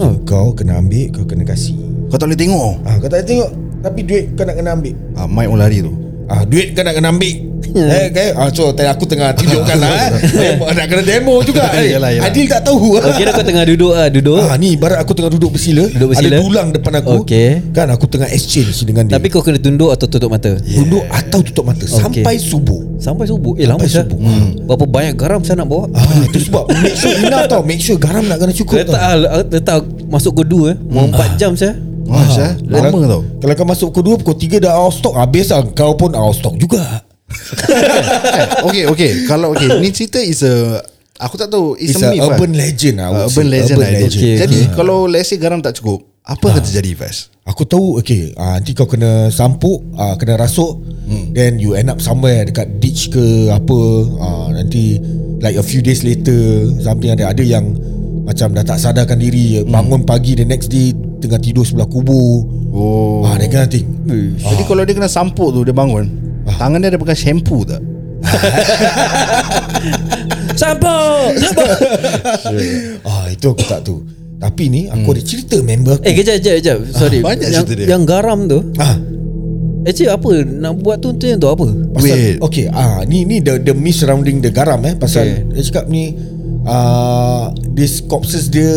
Oh. So kau kena ambil Kau kena kasih Kau tak boleh tengok. ah, Kau tak boleh tengok Tapi duit kau nak kena ambil Ah, Mike Olari tu. ah, Duit kau nak kena ambil eh, okay. ah, So tadi aku tengah tunjukkan lah eh. Demo, Nak kena demo juga eh. Yalah, yalah. Adil tak tahu Oh, kira kau tengah duduk ah, duduk. Ah, ni ibarat aku tengah duduk bersila, Duduk bersila. Ada dulang depan aku Okey. Kan aku tengah exchange dengan dia Tapi kau kena tunduk atau tutup mata. Tunduk atau tutup mata Sampai subuh Sampai subuh. Eh lama Sampai sah. subuh. Berapa banyak garam saya nak bawa? Ah, itu sebab make sure enough tau. Make sure garam nak kena cukup Letak tau. ah, letak masuk kedua eh. Mau 4 jam saya. Ah, Masya. Lama Kalau- tau. Kalau kau masuk pukul 2 Pukul 3 dah out of stock Habis lah Kau pun out of stock juga Eh, Okay, okay. Kalau okay, ni cerita is a Aku tak tahu It's, It's a a, myth lah. urban Ah. legend lah I would Uh, say. urban legend lah legend. Okay. Jadi kalau let's say garam tak cukup Apa Ah. akan terjadi Faiz? Aku tahu Okay ah, Nanti kau kena sampuk ah, Kena rasuk Hmm. Then you end up somewhere Dekat ditch ke Apa ah, Nanti Like a few days Hmm. later Something ada Ada yang Macam dah tak sadarkan diri Bangun pagi the next day tengah tidur sebelah kubur Oh. ah, That kind of thing Ah. Jadi kalau dia kena sampuk tu dia bangun. Tangan dia ada pakai shampoo tak? Sampuk Sampuk ah, Oh. Itu aku tak tahu Tapi ni Hmm. aku ada cerita member aku Eh kejap kejap kejap Sorry Ah, banyak yang, cerita dia. Yang garam tu ah, Actually apa Nak buat tu Macam tu apa Pasal Wait. Okay ah, Ni ni the, the myth surrounding the garam eh Pasal dia cakap ni ah, This corpses dia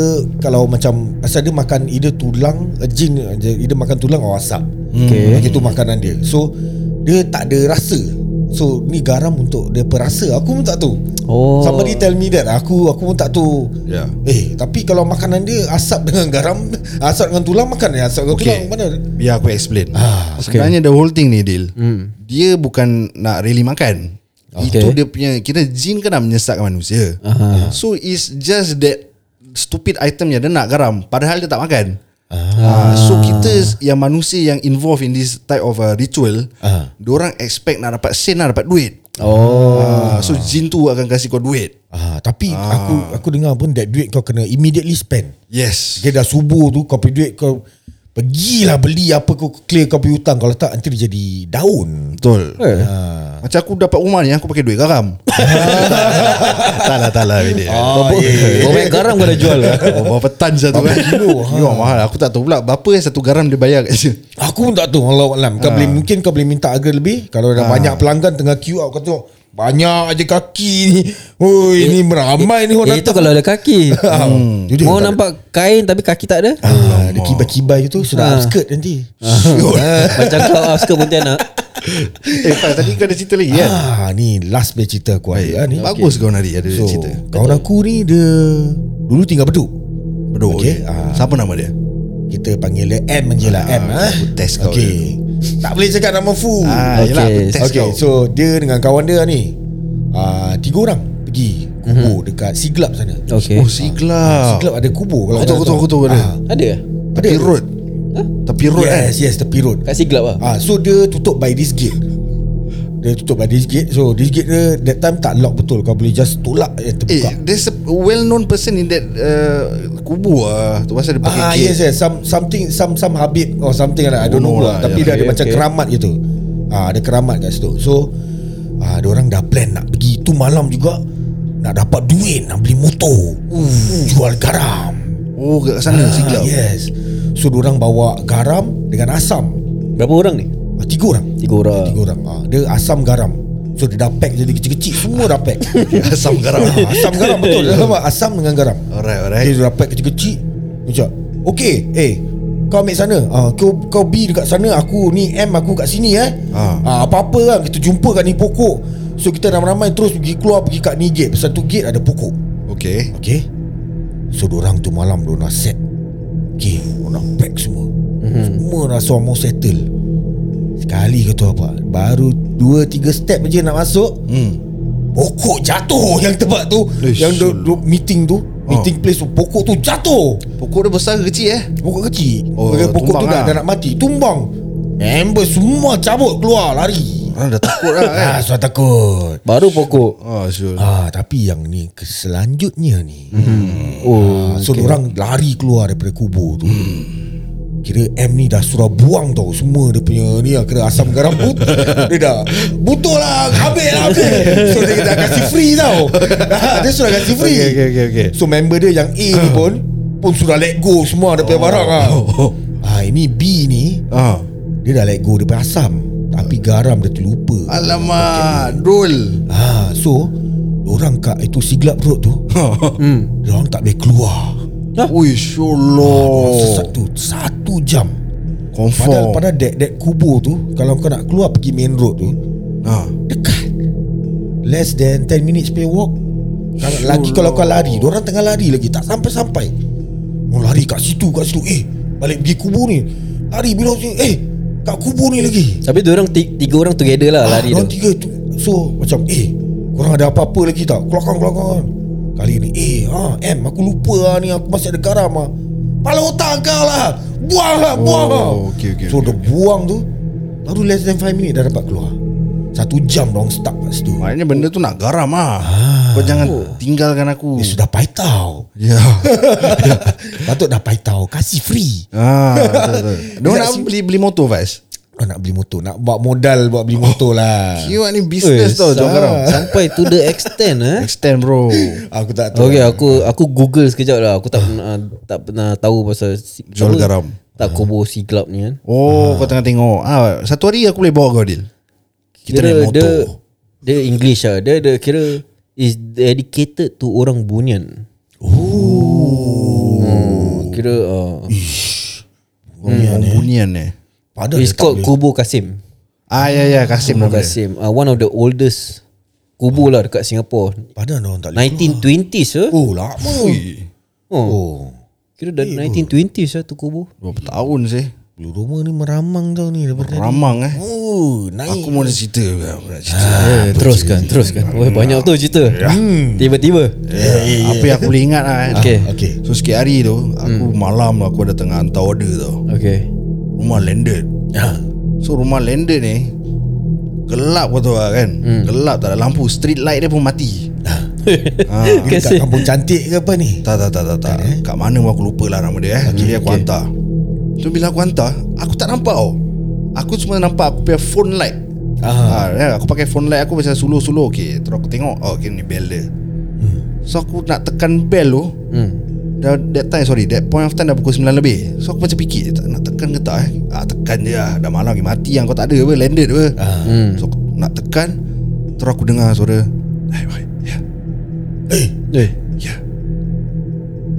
Kalau macam Pasal dia makan Either tulang eh, Jin eh, Either makan tulang Or asap Okay. Itu makanan dia So Dia tak ada rasa So ni garam untuk Dia perasa Aku pun tak tahu Oh Somebody tell me that Aku aku pun tak tahu Ya. Eh tapi kalau makanan dia Asap dengan garam Asap dengan tulang Makan ya Asap dengan okay. tulang Okay. Mana Biar aku explain. Ah, okay. Sebenarnya the whole thing ni deal. Hmm. Dia bukan nak really makan. Okay. Itu dia punya kira jin kan nak menyesatkan manusia. Aha. So it's just that stupid itemnya dia nak garam padahal dia tak makan. Ah. so kita s- yang manusia yang involved in this type of uh, ritual, Ah. orang expect nak dapat sen nak dapat duit. Oh Ah, so jin tu akan kasih kau duit. ah, Tapi aku aku dengar pun That duit kau kena Immediately spend Yes. Dia dah subuh tu Kau pergi duit kau Pergilah beli apa kau Clear kau pergi hutang Kalau tak nanti dia jadi daun Betul. Eh. ah. Macam aku dapat rumah ni aku pakai duit garam. tak lah tak lah Bidik. Ah, Oh, ya, yeah. Kau banyak garam kau dah jual lah. Oh, berapa tan satu kan? Kilo. Ha. mahal. Aku tak tahu pula berapa yang satu garam dia bayar kat sini. Aku pun tak tahu Allah Alam Ah. Kau boleh mungkin kau boleh minta harga lebih Kalau ada banyak pelanggan Tengah queue up Kau tengok Banyak aja kaki ni Oi eh, ni ramai ni Eh, orang Itu datang kalau ada kaki Hmm. Jadi Mau tak- nampak kain Tapi kaki tak ada Ah, ada kibai-kibai tu Ah. sudah upskirt nanti. Macam kau Oscar Pontianak Eh, Faz, tadi kau ada cerita lagi ya. kan? Ah, ni last punya cerita aku ada ah, ni. Bagus kau nari ada So, cerita. kawan aku ni dia dulu tinggal Bedok. Bedok. Okey. ya. Okay. Ah. Oh, Siapa nama dia? Kita panggil dia M je lah M ah. aku test kau Okey. Tak boleh cakap nama full. Ah, yelah, aku okey, test okay, kau. so dia dengan kawan dia ni ah, tiga orang pergi kubur mm-hmm. dekat Siglap sana. Okay Mhm. oh, Siglap. Ah, Siglap ada kubur kalau Aku tahu, aku tahu, aku tahu ada. Ah, Ada ke? ada. Tepi road. Hah? Tepi road eh. Ah, Yes, yes, tepi road. Kat Siglap lah Ah, so dia tutup by this gate. Dia tutup by this gate. So this gate dia that time tak lock betul. Kau boleh just tolak eh Eh, terbuka. there's a well-known person in that uh, kubur ah. Tu pasal dia pakai ah gate. yes yes some something some some habib or something like that. I don't know Oh, lah. lah, Tapi dia yeah. ada Okay, macam okay. keramat gitu. Ah ada keramat kat situ. So ah dia orang dah plan nak pergi tu malam juga nak dapat duit nak beli motor. Uh, jual garam. Oh, kat sana Ah, Siglap. yes. So dia orang bawa garam dengan asam. Berapa orang ni? Ah, tiga orang. Tiga orang Tiga orang ha, Dia asam garam So dia dah pack jadi kecil-kecil Semua dah pack Asam garam. Ah, Asam garam betul Dia nampak asam dengan garam Alright, Dia alright. dah pack kecil-kecil Macam Okay Eh kau ambil sana ha, kau, kau B dekat sana Aku ni M aku kat sini eh Ah. ha, Apa-apa kan Kita jumpa kat ni pokok So kita ramai-ramai terus pergi keluar Pergi kat ni gate Pasal tu gate ada pokok Okay. Okay So orang tu malam Diorang set Okay Diorang pack semua mm-hmm. Semua rasa orang mau settle Sekali kau tahu apa Baru 2-3 step je nak masuk Hmm. Pokok jatuh yang tempat tu Eh, Yang do, syul. do, meeting tu Meeting place tu Pokok tu jatuh Pokok dia besar ke kecil eh? Pokok kecil Oh, Dia Pokok tu tumbang dah, lah. dah nak mati Tumbang Member semua cabut keluar lari Orang dah takut lah kan. Ah, so takut Baru pokok Oh, sure. Ah, tapi yang ni keselanjutnya ni. Hmm, Oh Ah, So okay. orang lari keluar daripada kubur tu hmm. Kira M ni dah surah buang tau Semua dia punya ni lah Kira asam garam put Dia dah Butuh lah Habis lah habis So dia dah kasi free tau Ah, Dia sudah kasi free Okay, okay, okay, okay. So member dia yang A ni pun Pun sudah let go semua Dia punya oh. barang lah Oh. ha, Ini B ni Ah. Dia dah let go daripada asam Tapi garam dia terlupa Alamak, Dul. ha, So Orang kat itu Siglap Road tu ha, Hmm Orang tak boleh keluar Oh. Ui, syolo. Satu Satu jam Padahal Confirm. padahal dek dek kubur tu kalau kau nak keluar pergi main road tu Ah. dekat less than 10 minutes pay walk. Kalau Sure lagi kalau kau lah. lari, orang tengah lari lagi tak sampai-sampai. Mau lari kat situ kat situ. Eh, balik pergi kubur ni. Lari bila sini. Eh, kat kubur ni lagi. Tapi orang tiga orang together lah Ah, lari Ah, Orang tu tiga tu So macam Eh Korang ada apa-apa lagi tak Keluarkan keluarkan Kali ni Eh ha, M aku lupa lah ni Aku masih ada garam lah Pala otak kau lah Buang lah buang Oh, lah okay, okay, So okay, dia buang tu Baru less than 5 minit dah dapat keluar Satu jam dong stuck kat situ Maknanya benda tu nak garam ah. Ah, Kau jangan tinggalkan aku Dia sudah paitau Ya Patut dah paitau Kasih free ah, betul, betul. Dia orang nak beli beli motor Faiz oh, Nak beli motor Nak buat modal Buat Oh, beli motor lah You ni business Eh, tau Jangan sah. karang Sampai to the extent eh. Extend bro Aku tak tahu Okay aku aku Google sekejap lah Aku tak pernah tak pernah tahu pasal si- Jual apa? garam. Tak kubur si club ni kan. Oh kau tengah tengok ah, Satu hari aku boleh bawa kau Dil Kita Kira naik motor dia dia English lah. Dia dia kira is dedicated to orang bunian. Oh. Kira uh, Bunian, bunian eh Padahal it's dia tak called Kubur Kasim. Ah ya ya Kasim Kubur nama dia Kasim. Uh, one of the oldest kubur lah dekat Singapore. Padahal dia orang tak boleh 1920s eh. Oh lama Oh. Oh Kira dah 1920s lah tu kubur. Berapa tahun sih Bulu Roma ni meramang tau ni daripada tadi. Ramang eh Ah, Oh naik Aku mau nak cerita Aku nak cerita Eh, teruskan, teruskan. Wah, banyak tu cerita. Hmm. Tiba-tiba. ya, Eh. Apa yang aku boleh ingat lah eh. Okay. Okay So sikit hari tu Aku malam lah aku ada tengah hantar order tau Okay. Rumah landed So rumah landed ni Gelap kau tahu lah kan Gelap tak ada lampu Street light dia pun mati Dia kat Kasih. kampung cantik ke apa ni Tak tak tak tak, tak. Eh, Kat mana pun aku lupa lah nama dia eh. Jadi aku hantar So bila aku hantar Aku tak nampak tau Aku cuma nampak aku punya phone light ah. Ha, aku pakai phone light aku macam suluh-suluh Okay Terus aku tengok Oh okay ni bell dia Hmm. So aku nak tekan bell tu Hmm. Dah, that time sorry That point of time dah pukul 9 lebih So aku macam fikir tak, Nak tekan ke tak eh ah, Tekan je lah Dah malam lagi mati yang Kau tak ada apa Landed apa Ah. Hmm. So aku nak tekan Terus aku dengar suara Hai hai Ya Eh. Ya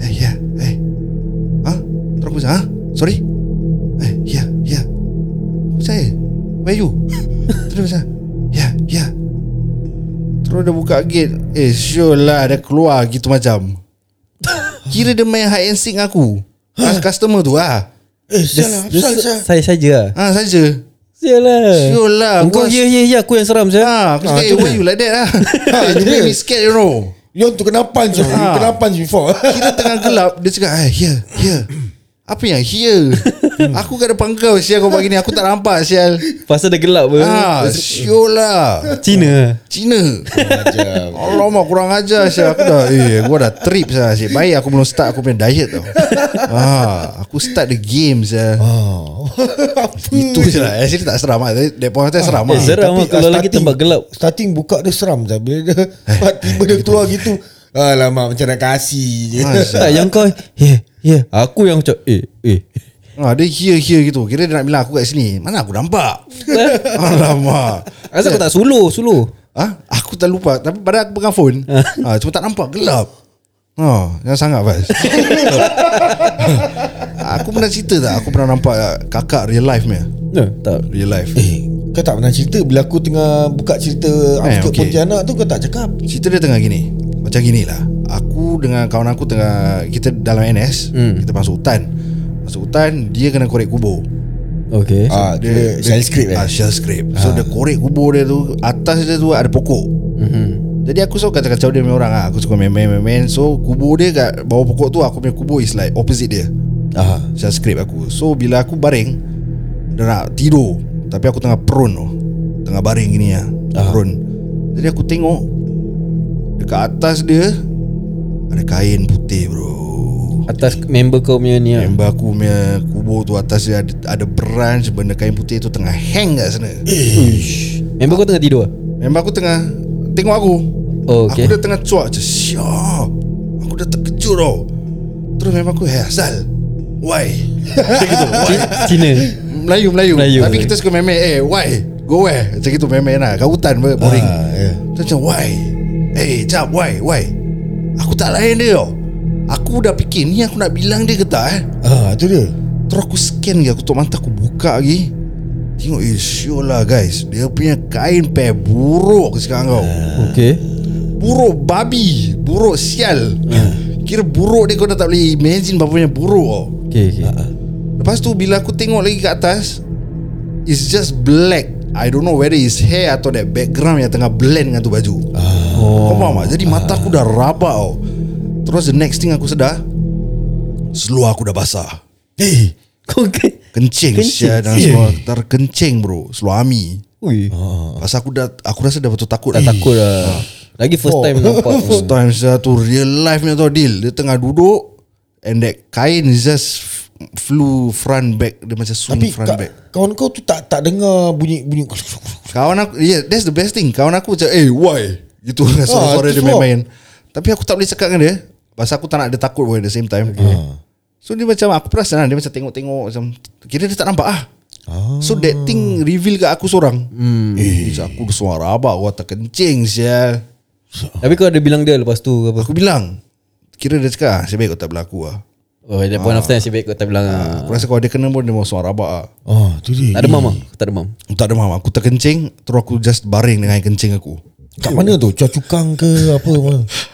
Eh ya Eh Ha Terus aku macam ha Sorry Eh ya ya Aku macam eh Where you Terus macam Ya ya Terus dia buka gate Eh sure lah Dia keluar gitu macam Kira dia main hide and seek dengan aku As customer tu ah. Eh salah Dia- Salah salah Saya saja lah. Ha saja Sialah. Sure lah, Kau kau- ya ya ya aku yang seram saya. Ha aku Ah, cakap eh tu dia. why you like that ah. Ah, You tu make dia. me scared you know You want to kena punch ah. You Ah. kena punch before Kira tengah gelap Dia cakap "Ah, Here Here Apa yang here Aku kat depan kau Sial kau pagi ni Aku tak nampak Sial Pasal dah gelap pun. Ah, Sure lah Cina. Cina Macam Alamak kurang ajar Sial Aku dah Eh gua dah trip Sial Asyik baik aku belum start Aku punya diet tau ah, Aku start the game Sial Oh. Itu je lah Actually tak seram lah That point of time seram Ah, Eh, lah seram. lah kalau lagi starting- tempat gelap. Starting buka dia seram tak Bila dia Tiba dia keluar gitu Alamak macam nak kasih je Ah, Tak yang kau ya ya aku yang cak eh eh. Ah, dia here here gitu Kira dia nak bilang aku kat sini Mana aku nampak Alamak Asal kau tak suluh suluh. Ah, aku tak lupa tapi pada aku pegang phone. Ha. ah, cuma tak nampak gelap. Ha, jangan sangat Faiz. aku pernah cerita tak aku pernah nampak kakak real life punya. Nah, tak. Real life. Eh kau tak pernah cerita Bila aku tengah buka cerita Eh, eh, Aku okay. okey. Pontianak tu kau tak cakap Cerita dia tengah gini. Macam gini lah. Aku dengan kawan aku tengah kita dalam NS, Hmm. kita masuk hutan. Masuk hutan, dia kena korek kubur. Okay. ah, Dia, dia Shell script eh Ah, shell script. So dia korek kubur dia tu, atas dia tu ada pokok. Mhm. Jadi aku suka kacau-kacau dia punya orang lah. Aku suka main-main-main So kubur dia kat bawah pokok tu Aku punya kubur is like opposite dia ah. Macam skrip aku So bila aku baring Dia nak tidur Tapi aku tengah prone tu Tengah baring gini lah Prone Jadi aku tengok Dekat atas dia Ada kain putih bro Atas member kau punya ni ah. Member aku punya kubur tu atas dia ada, ada branch Benda kain putih tu tengah hang kat sana Member kau tengah tidur ah? Member aku tengah Tengok aku Oh, okay. Okay. Aku dah tengah cuak je Syah Aku dah terkejut tau Terus memang aku Hey Azal Why Macam gitu why? Ci- Cina. Melayu, Melayu Melayu. Tapi kita suka memek Eh why Go where Macam gitu memek lah Kat hutan ber- boring Ah, yeah. Terus macam why Eh jap why Why Aku tak layan dia tau Aku dah fikir Ni aku nak bilang dia ke tak eh ah, tu dia Terus aku scan lagi Aku tutup mata Aku buka lagi Tengok Eh sure lah guys Dia punya kain pair Buruk sekarang kau Okay. Buruk babi Buruk sial Kira buruk dia kau dah tak boleh imagine Berapa punya buruk tau Okay, okay. Lepas tu bila aku tengok lagi kat atas It's just black I don't know whether it's hair Atau that background yang tengah blend dengan tu baju Kau faham tak? Jadi mata aku dah rabak tau Terus the next thing aku sedar Seluar aku dah basah Eh Kau okay. Kencing, Kencing. Kencing. dan seluar Terkencing bro Seluar ami Ui. Ah, Eh. Pasal aku dah Aku rasa dah betul takut Tak takut lah. Lagi first Oh. time nampak First time saya tu real life punya tau deal Dia tengah duduk And that kain is just f- flew front back Dia macam swing Tapi front ka, back kawan kau tu tak tak dengar bunyi bunyi. Kawan aku Yeah that's the best thing Kawan aku macam Eh why Gitu ah, suara-suara tu dia semua. main-main Tapi aku tak boleh cakap dengan dia Pasal aku tak nak dia takut pun At the same Ah. time So dia macam Aku perasan lah Dia macam tengok-tengok macam Kira dia tak nampak lah Ah. So that thing reveal kat aku seorang hmm. Eh aku suara abak Aku tak kencing sial Tapi kau ada bilang dia lepas tu ke apa? Aku bilang Kira dia cakap ah, Saya baik kau tak berlaku lah Oh, that point of time si baik kau tak bilang. ah. Aku rasa kalau dia kena pun Dia mau suara abak lah Ah, tu dia. Tak demam ah, tak demam. Aku tak demam Aku terkencing Terus aku just baring dengan air kencing aku Eh, Kat mana tu? Cua cukang ke apa?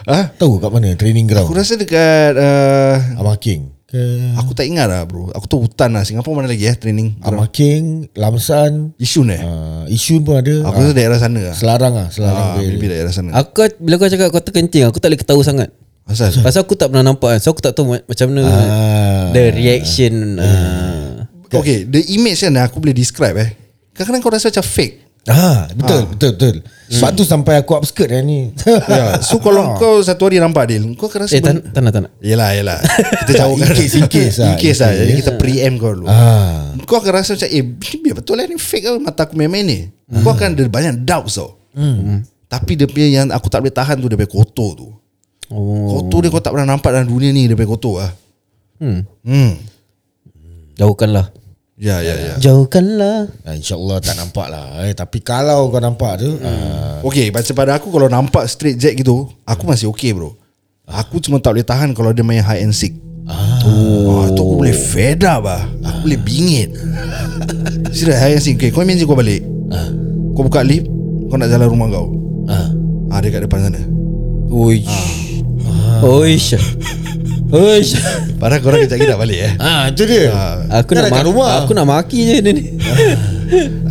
Ah? Tahu kat mana training Aku ground? rasa dekat uh, Abang King. Ke Aku tak ingat lah bro Aku tu hutan lah Singapura mana lagi eh training Abang King, Lamsan, Isun eh ah, Isun pun ada. Aku rasa daerah sana lah Selarang ah, Selarang. ah, Maybe daerah sana Aku bila kau cakap kau terkencing, aku tak boleh ketahui sangat. Asal Pasal aku tak pernah nampak kan. So aku tak tahu ma- macam mana Ah. the reaction. ah. Okay The image kan Aku boleh describe eh Kadang-kadang kau rasa macam fake Ah, betul, betul, betul. Sebab tu sampai aku upskirt eh ni. yeah. Hmm. Ya, Ah. So kalau kau satu hari nampak Dil Kau akan rasa Eh, tak, tak nak, tak nak. Yelah yelah Kita jauh In case, in case lah, In in case lah case. Jadi kita pre-empt kau dulu Ah. Kau akan rasa macam Eh ni biar betul lah ni fake lah Mata aku main-main ni Kau akan ada banyak doubts tau Hmm. Tapi dia punya yang Aku tak boleh tahan tu Dia punya kotor tu Oh, Kotor dia kau tak pernah nampak Dalam dunia ni Dia punya kotor lah hmm. hmm. jauhkanlah. Ya ya ya Jauhkanlah. Ah, InsyaAllah tak nampak lah eh, Tapi kalau kau nampak Hmm. tu ah, Okay macam pada aku Kalau nampak straight jack gitu Aku masih okay bro Aku cuma tak boleh tahan Kalau dia main hide and seek Ah. Oh, tu aku boleh fed up lah Aku boleh bingit Serius hide and seek okay, Kau imagine kau balik Kau buka lift Kau nak jalan rumah kau ah. Ah dia kat depan sana Oish. Ah. Oish. Oish. Padahal korang kejap lagi nak balik eh ah Itu dia ah. Aku Kan nak dekat maki, rumah. aku nak maki je dia ni.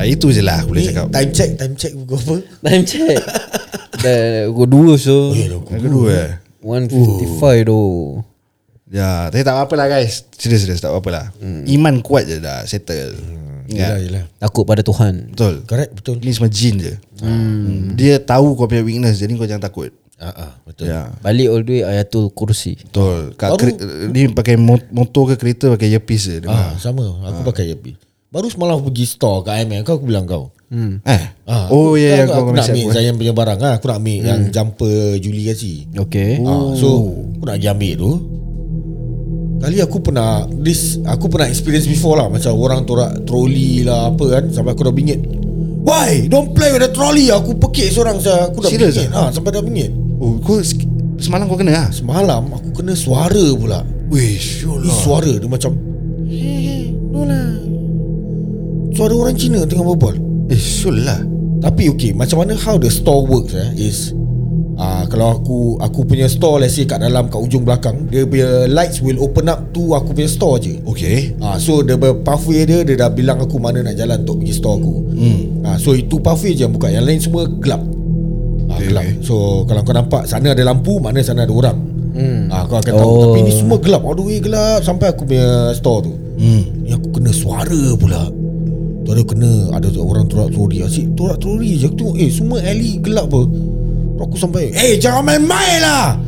ah, Itu je lah aku boleh Ni cakap time check Time check pukul apa Time check. Dah pukul dua Oh, so. Yang kedua eh Oh. 155 tu. Ya Tapi tak apa-apa lah guys Serius-serius tak apa-apa lah Iman kuat je dah Settle hmm. Hmm. Yelah yelah Takut pada Tuhan. Betul Correct betul Ni semua jin je hmm. Dia tahu kau punya weakness Jadi kau jangan takut ah, ah, Betul Ya Balik all the way Ayatul Kursi. Betul Kat Baru- kre- Ni pakai mo- motor ke kereta Pakai earpiece je dia ah, Sama Aku pakai earpiece Baru semalam aku pergi store kat IMM Kau aku bilang kau dengar. Eh Ah. Oh aku- ya yeah, aku, Kau aku nak kena ambil siap Zayan punya barang ah. Aku nak ambil yang jumper Julie kasi Okay. Ah, so aku nak pergi ambil tu Kali aku pernah this aku pernah experience before lah macam orang torak troli lah apa kan sampai aku dah bingit. Why? Don't play with the trolley. Aku pekik seorang saya. Aku dah Serious ah? bingit. Ha, sampai dah bingit. Oh kau sek- Semalam kau kena lah Semalam aku kena suara pula. Wih sure Ni suara dia macam "Hey, hey, lah. no lah. Suara orang Cina tengah berbual. Eh sure lah Tapi okay Macam mana how the store works eh, Is uh, Kalau aku Aku punya store Let's say kat dalam Kat ujung belakang Dia punya lights Will open up to Aku punya store je Okay Ah, so the ber- pathway dia Dia dah bilang aku Mana nak jalan Untuk pergi store aku hmm. ah, So itu pathway je yang buka Yang lain semua gelap ah, Okay, Gelap okay. So kalau kau nampak Sana ada lampu Mana sana ada orang hmm. ah, Kau akan tahu Oh. Tapi ni semua gelap All the way gelap Sampai aku punya store tu hmm. Ni aku kena suara pula Tu ada kena Ada tu orang torak troli Asyik torak troli je Aku tengok Eh semua alley gelap apa Tu Aku sampai Eh jangan main-main lah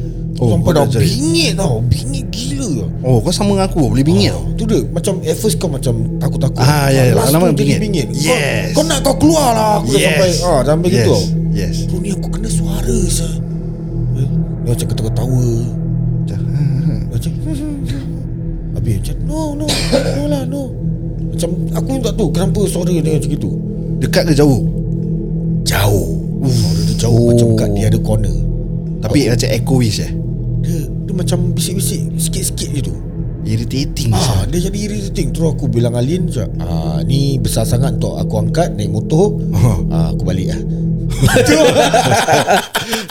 oh, Oh, Sampai kau dah nak cari. bingit tau Bingit gila Ah, Oh kau sama dengan aku Boleh bingit tau Tu dia macam At first kau macam Takut-takut Ah, ya, ya. Lepas tu Lama-lama jadi bingit. bingit Kau- Yes. Kau nak kau keluar lah Aku dah sampai ah, Sampai yes. gitu tau Yes Tu ni aku kena suara sah Dia macam ketawa-ketawa ah. Dia Macam Habis macam No no No lah no Macam aku pun tak tahu Kenapa suara dia macam gitu Dekat ke jauh Jauh Oh. Suara dia jauh Macam kat dia ada corner Tapi Oh. macam echoish eh Dia, dia macam bisik-bisik Sikit-sikit je tu Irritating Ah, dia jadi irritating Terus aku bilang Alin macam, ah, Ni besar sangat untuk aku angkat Naik motor ah, Aku balik lah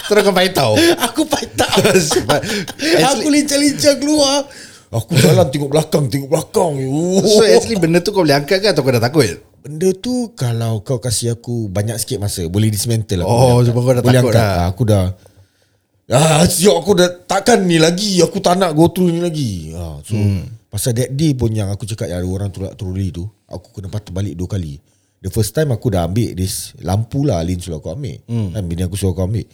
Terus kau pakai tau Aku patah Aku lincah-lincah keluar Aku jalan tengok belakang Tengok belakang oh. So actually benda tu kau boleh angkat ke Atau kau dah takut Benda tu Kalau kau kasih aku Banyak sikit masa Boleh dismantle lah. aku Oh, Boleh sebab angkat. kau dah Boleh takut angkat. dah. Ah, Aku dah Ah, siap aku dah takkan ni lagi. Aku tak nak go through ni lagi. Ah, so hmm. pasal that day pun yang aku cakap yang ada orang tolak troli tu, aku kena patah balik dua kali. The first time aku dah ambil this lampu lah Alin suruh aku ambil. Hmm. Kan bini aku suruh aku ambil.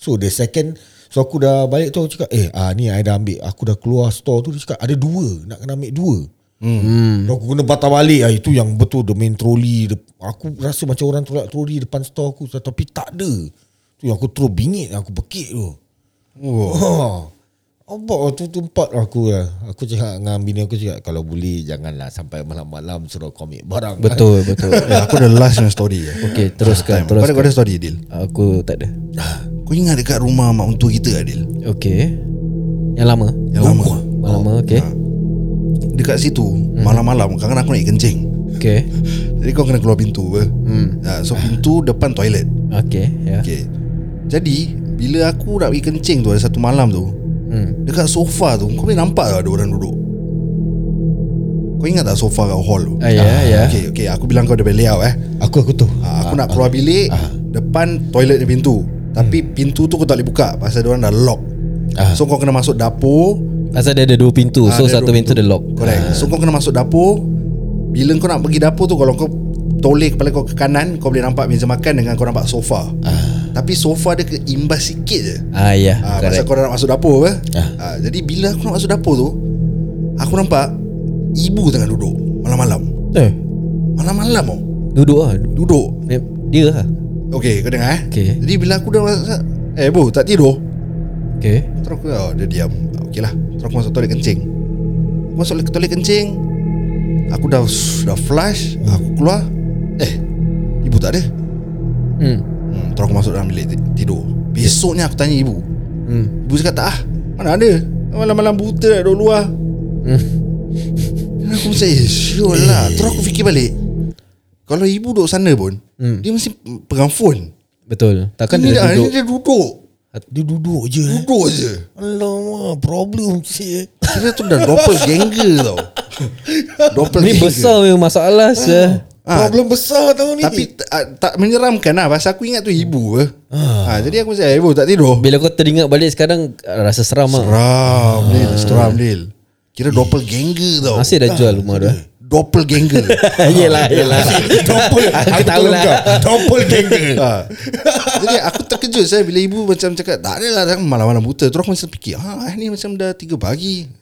So the second So aku dah balik tu Aku cakap Eh ah, ni I dah ambil Aku dah keluar store tu Dia cakap ada dua Nak kena ambil dua Hmm. Aku kena patah balik ah, Itu yang betul The main trolley the, Aku rasa macam orang tolak trolley Depan store aku Tapi tak ada Tu yang aku terus bingit Aku pekik tu Oh. Abang lah, tu tempat aku lah Aku cakap dengan bini aku cakap Kalau boleh janganlah sampai malam-malam Suruh komik barang Betul betul. Eh, aku dah last yang story eh. Okey, teruskan, Time. Kau ada, kau ada teruskan. story Adil Aku tak ada. Ah. Kau ingat dekat rumah mak untuk kita Adil Okey. Yang lama. Yang lama Yang lama Oh, okey. Dekat situ Hmm. Malam-malam Kadang-kadang aku nak kencing Okey. Jadi kau kena keluar pintu apa hmm. ha, So pintu depan toilet Okey, ya. Okay Jadi Bila aku nak pergi kencing tu Ada satu malam tu Hmm. Dekat sofa tu Kau boleh nampak tak ada orang duduk Kau ingat tak sofa kat hall tu Ah, ya, ya. Ah, Okay, okay Aku bilang kau daripada layout eh Aku aku tu ha, Aku nak keluar bilik Depan toilet ni pintu Tapi Hmm. pintu tu kau tak boleh buka Pasal dia orang dah lock Ah. So kau kena masuk dapur Pasal dia ada dua pintu, Ah, so dia satu dua pintu dia lock. Correct So kau kena masuk dapur Bila kau nak pergi dapur tu Kalau kau toleh kepala kau ke kanan Kau boleh nampak meja makan Dengan kau nampak sofa Tapi sofa dia keimbas sikit je Ah, ya, Ah. Ah, pasal correct. kau dah nak masuk dapur apa? Ah, jadi bila aku nak masuk dapur tu Aku nampak Ibu tengah duduk Malam-malam Eh, Malam-malam oh. duduk ah. Duduk Dia lah. Okay kau dengar eh Okey. Jadi bila aku dah masuk Eh bu tak tidur Okey. Terus aku oh, Dia diam Okey lah Terus aku masuk toilet kencing Aku masuk ke toilet kencing Aku dah Dah flush Aku keluar Eh Ibu tak ada Hmm. hmm, Terus aku masuk dalam bilik ti- Tidur Besoknya aku tanya ibu Hmm. Ibu cakap tak ah Mana ada Malam-malam buta dah duduk luar Hmm. Dan aku macam Eh sure lah Terus aku fikir balik Kalau ibu duduk sana pun Hmm. Dia mesti pegang phone Betul. Takkan Ini dia dah- duduk. Ini dia duduk Dia duduk je eh. Duduk je Alamak Problem sih eh. Kira tu dah doppelganger tau Ni Doppelganger besar punya masalah sah. Ah. Problem besar tau ni Tapi t- ah, tak menyeramkan lah Pasal aku ingat tu ibu eh. ah. Jadi aku cakap Ibu tak tidur Bila kau teringat balik sekarang ah, rasa seram ah. Seram Dil Seram Dil Kira doppelganger tau Masih dah jual rumah tu. eh. Doppelganger Ah. Yelah yelah Doppel Aku tahu tolong lah. kau. Doppelganger ah. Jadi aku terkejut saya Bila ibu macam cakap Tak adalah dah malam-malam buta Terus aku macam fikir ah, Ni macam dah 3 pagi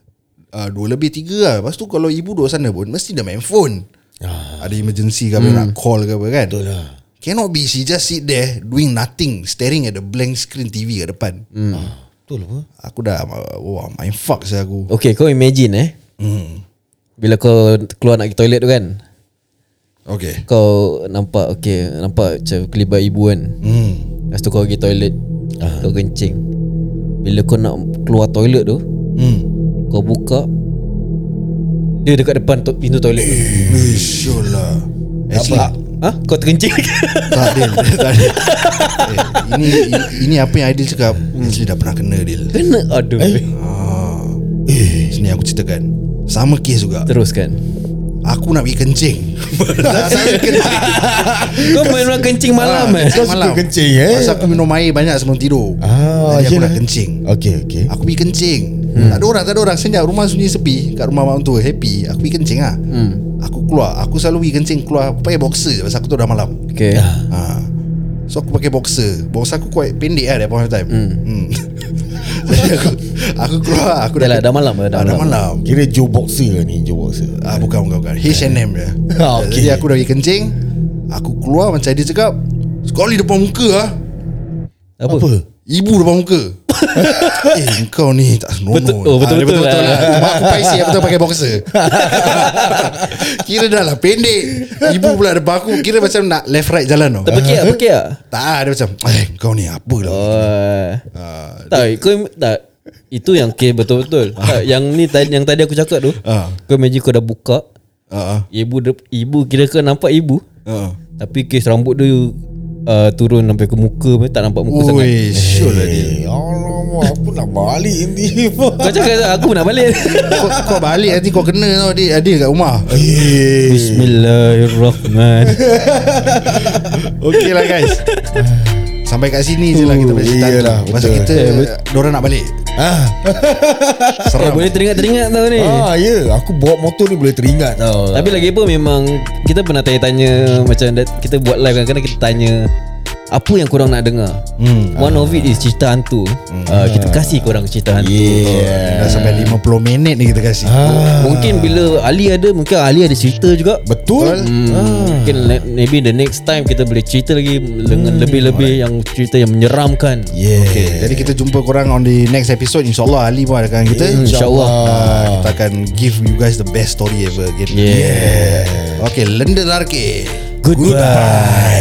ah, Dua lebih tiga lah Lepas tu kalau ibu duduk sana pun Mesti dah main phone Ah. Ada emergency ke apa Hmm. Nak call ke apa kan Betul lah Cannot be She just sit there Doing nothing Staring at the blank screen TV kat depan Hmm. Betul apa Aku dah "Oh, Wah main fuck saya aku Okay kau imagine eh hmm. Bila kau keluar nak pergi toilet tu kan Okay Kau nampak Okay Nampak macam kelibat ibu kan hmm. Lepas tu kau pergi toilet Ah. Kau kencing Bila kau nak keluar toilet tu Hmm. Kau buka Dia dekat depan to- pintu toilet tu. Eh, sure lah Actually Ha? Kau terkencing Tak Dil Tak Dil eh, ini, ini ini apa yang Aidil cakap Hmm. Actually dah pernah kena Dil Kena Aduh ah. Eh. Sini aku ceritakan Sama kes juga Teruskan Aku nak pergi kencing Tak saya kencing Kau main orang kencing malam Ah, eh Kau suka kencing, eh? Pasal aku minum air banyak sebelum tidur Ah, Jadi aku yelah. nak kencing Okay okay Aku pergi kencing hmm. Tak ada orang Tak ada orang Senyap rumah sunyi sepi Kat rumah mak mentua Happy Aku pergi kencing lah hmm. Aku keluar Aku selalu pergi kencing Keluar pakai boxer je Pasal aku tu dah malam Okay ha. So aku pakai boxer Boxer aku quite pendek lah That point of time hmm. Hmm. Jadi aku Aku keluar Aku Dah lah dah malam lah Dah, dah malam Kira Joe Boxer lah ni Joe Boxer ah, Bukan bukan bukan H&M je Ah, okay. Jadi aku dah pergi kencing Aku keluar macam dia cakap Sekali depan muka lah Apa? Apa Ibu depan muka Eh kau ni tak senonoh Betul- oh, betul-betul dia betul-betul lah. lah Mak aku paisi Aku tak pakai boxer Kira dah lah pendek Ibu pula depan aku Kira macam nak left right jalan tau Terpekik tak? Terpekik tak? Tak ah, dia macam Eh kau ni apa lah Oh. Ah, Tak, kau im- tak. Itu yang ke betul-betul. tak, yang ni tadi yang tadi aku cakap tu. Ah. Kau imagine kau dah buka, ah, ah, ibu de, ibu kira kau nampak ibu, ah. tapi kes rambut dia uh, turun sampai ke muka pun tak nampak muka sangat. Ui Sure lah dia Eh Alamak Aku nak balik ni Kau cakap aku nak balik. kau, kau balik nanti kau kena tau Dia, dia kat rumah Eh Bismillahirrahmanirrahim. Okay lah guys Sampai kat sini je lah kita punya cerita Iyalah, Pasal betul. kita Diorang nak balik Ah, Eh, Seram boleh teringat-teringat tau ni. ah ya Aku bawa motor ni boleh teringat tau Tapi lagi apa memang kita pernah tanya-tanya macam that, kita buat live kan kadang kita tanya apa yang korang nak dengar Hmm. one of it is cerita hantu uh, kita kasih korang cerita hantu Ah. Hmm. Yeah Ah. Dah sampai 50 minit ni kita kasih Ah, mungkin bila Ali ada mungkin Ali ada cerita juga Betul Hmm, Ah. Mungkin le- maybe the next time kita boleh cerita lagi dengan lebih-lebih yang cerita yang menyeramkan. Hmm. Yeah Okay, jadi kita jumpa korang on the next episode InsyaAllah Ali pun ada kawan kita Hmm, InsyaAllah. Ah, Kita akan give you guys the best story ever again Yeah. Okay, Lenda Larke Goodbye.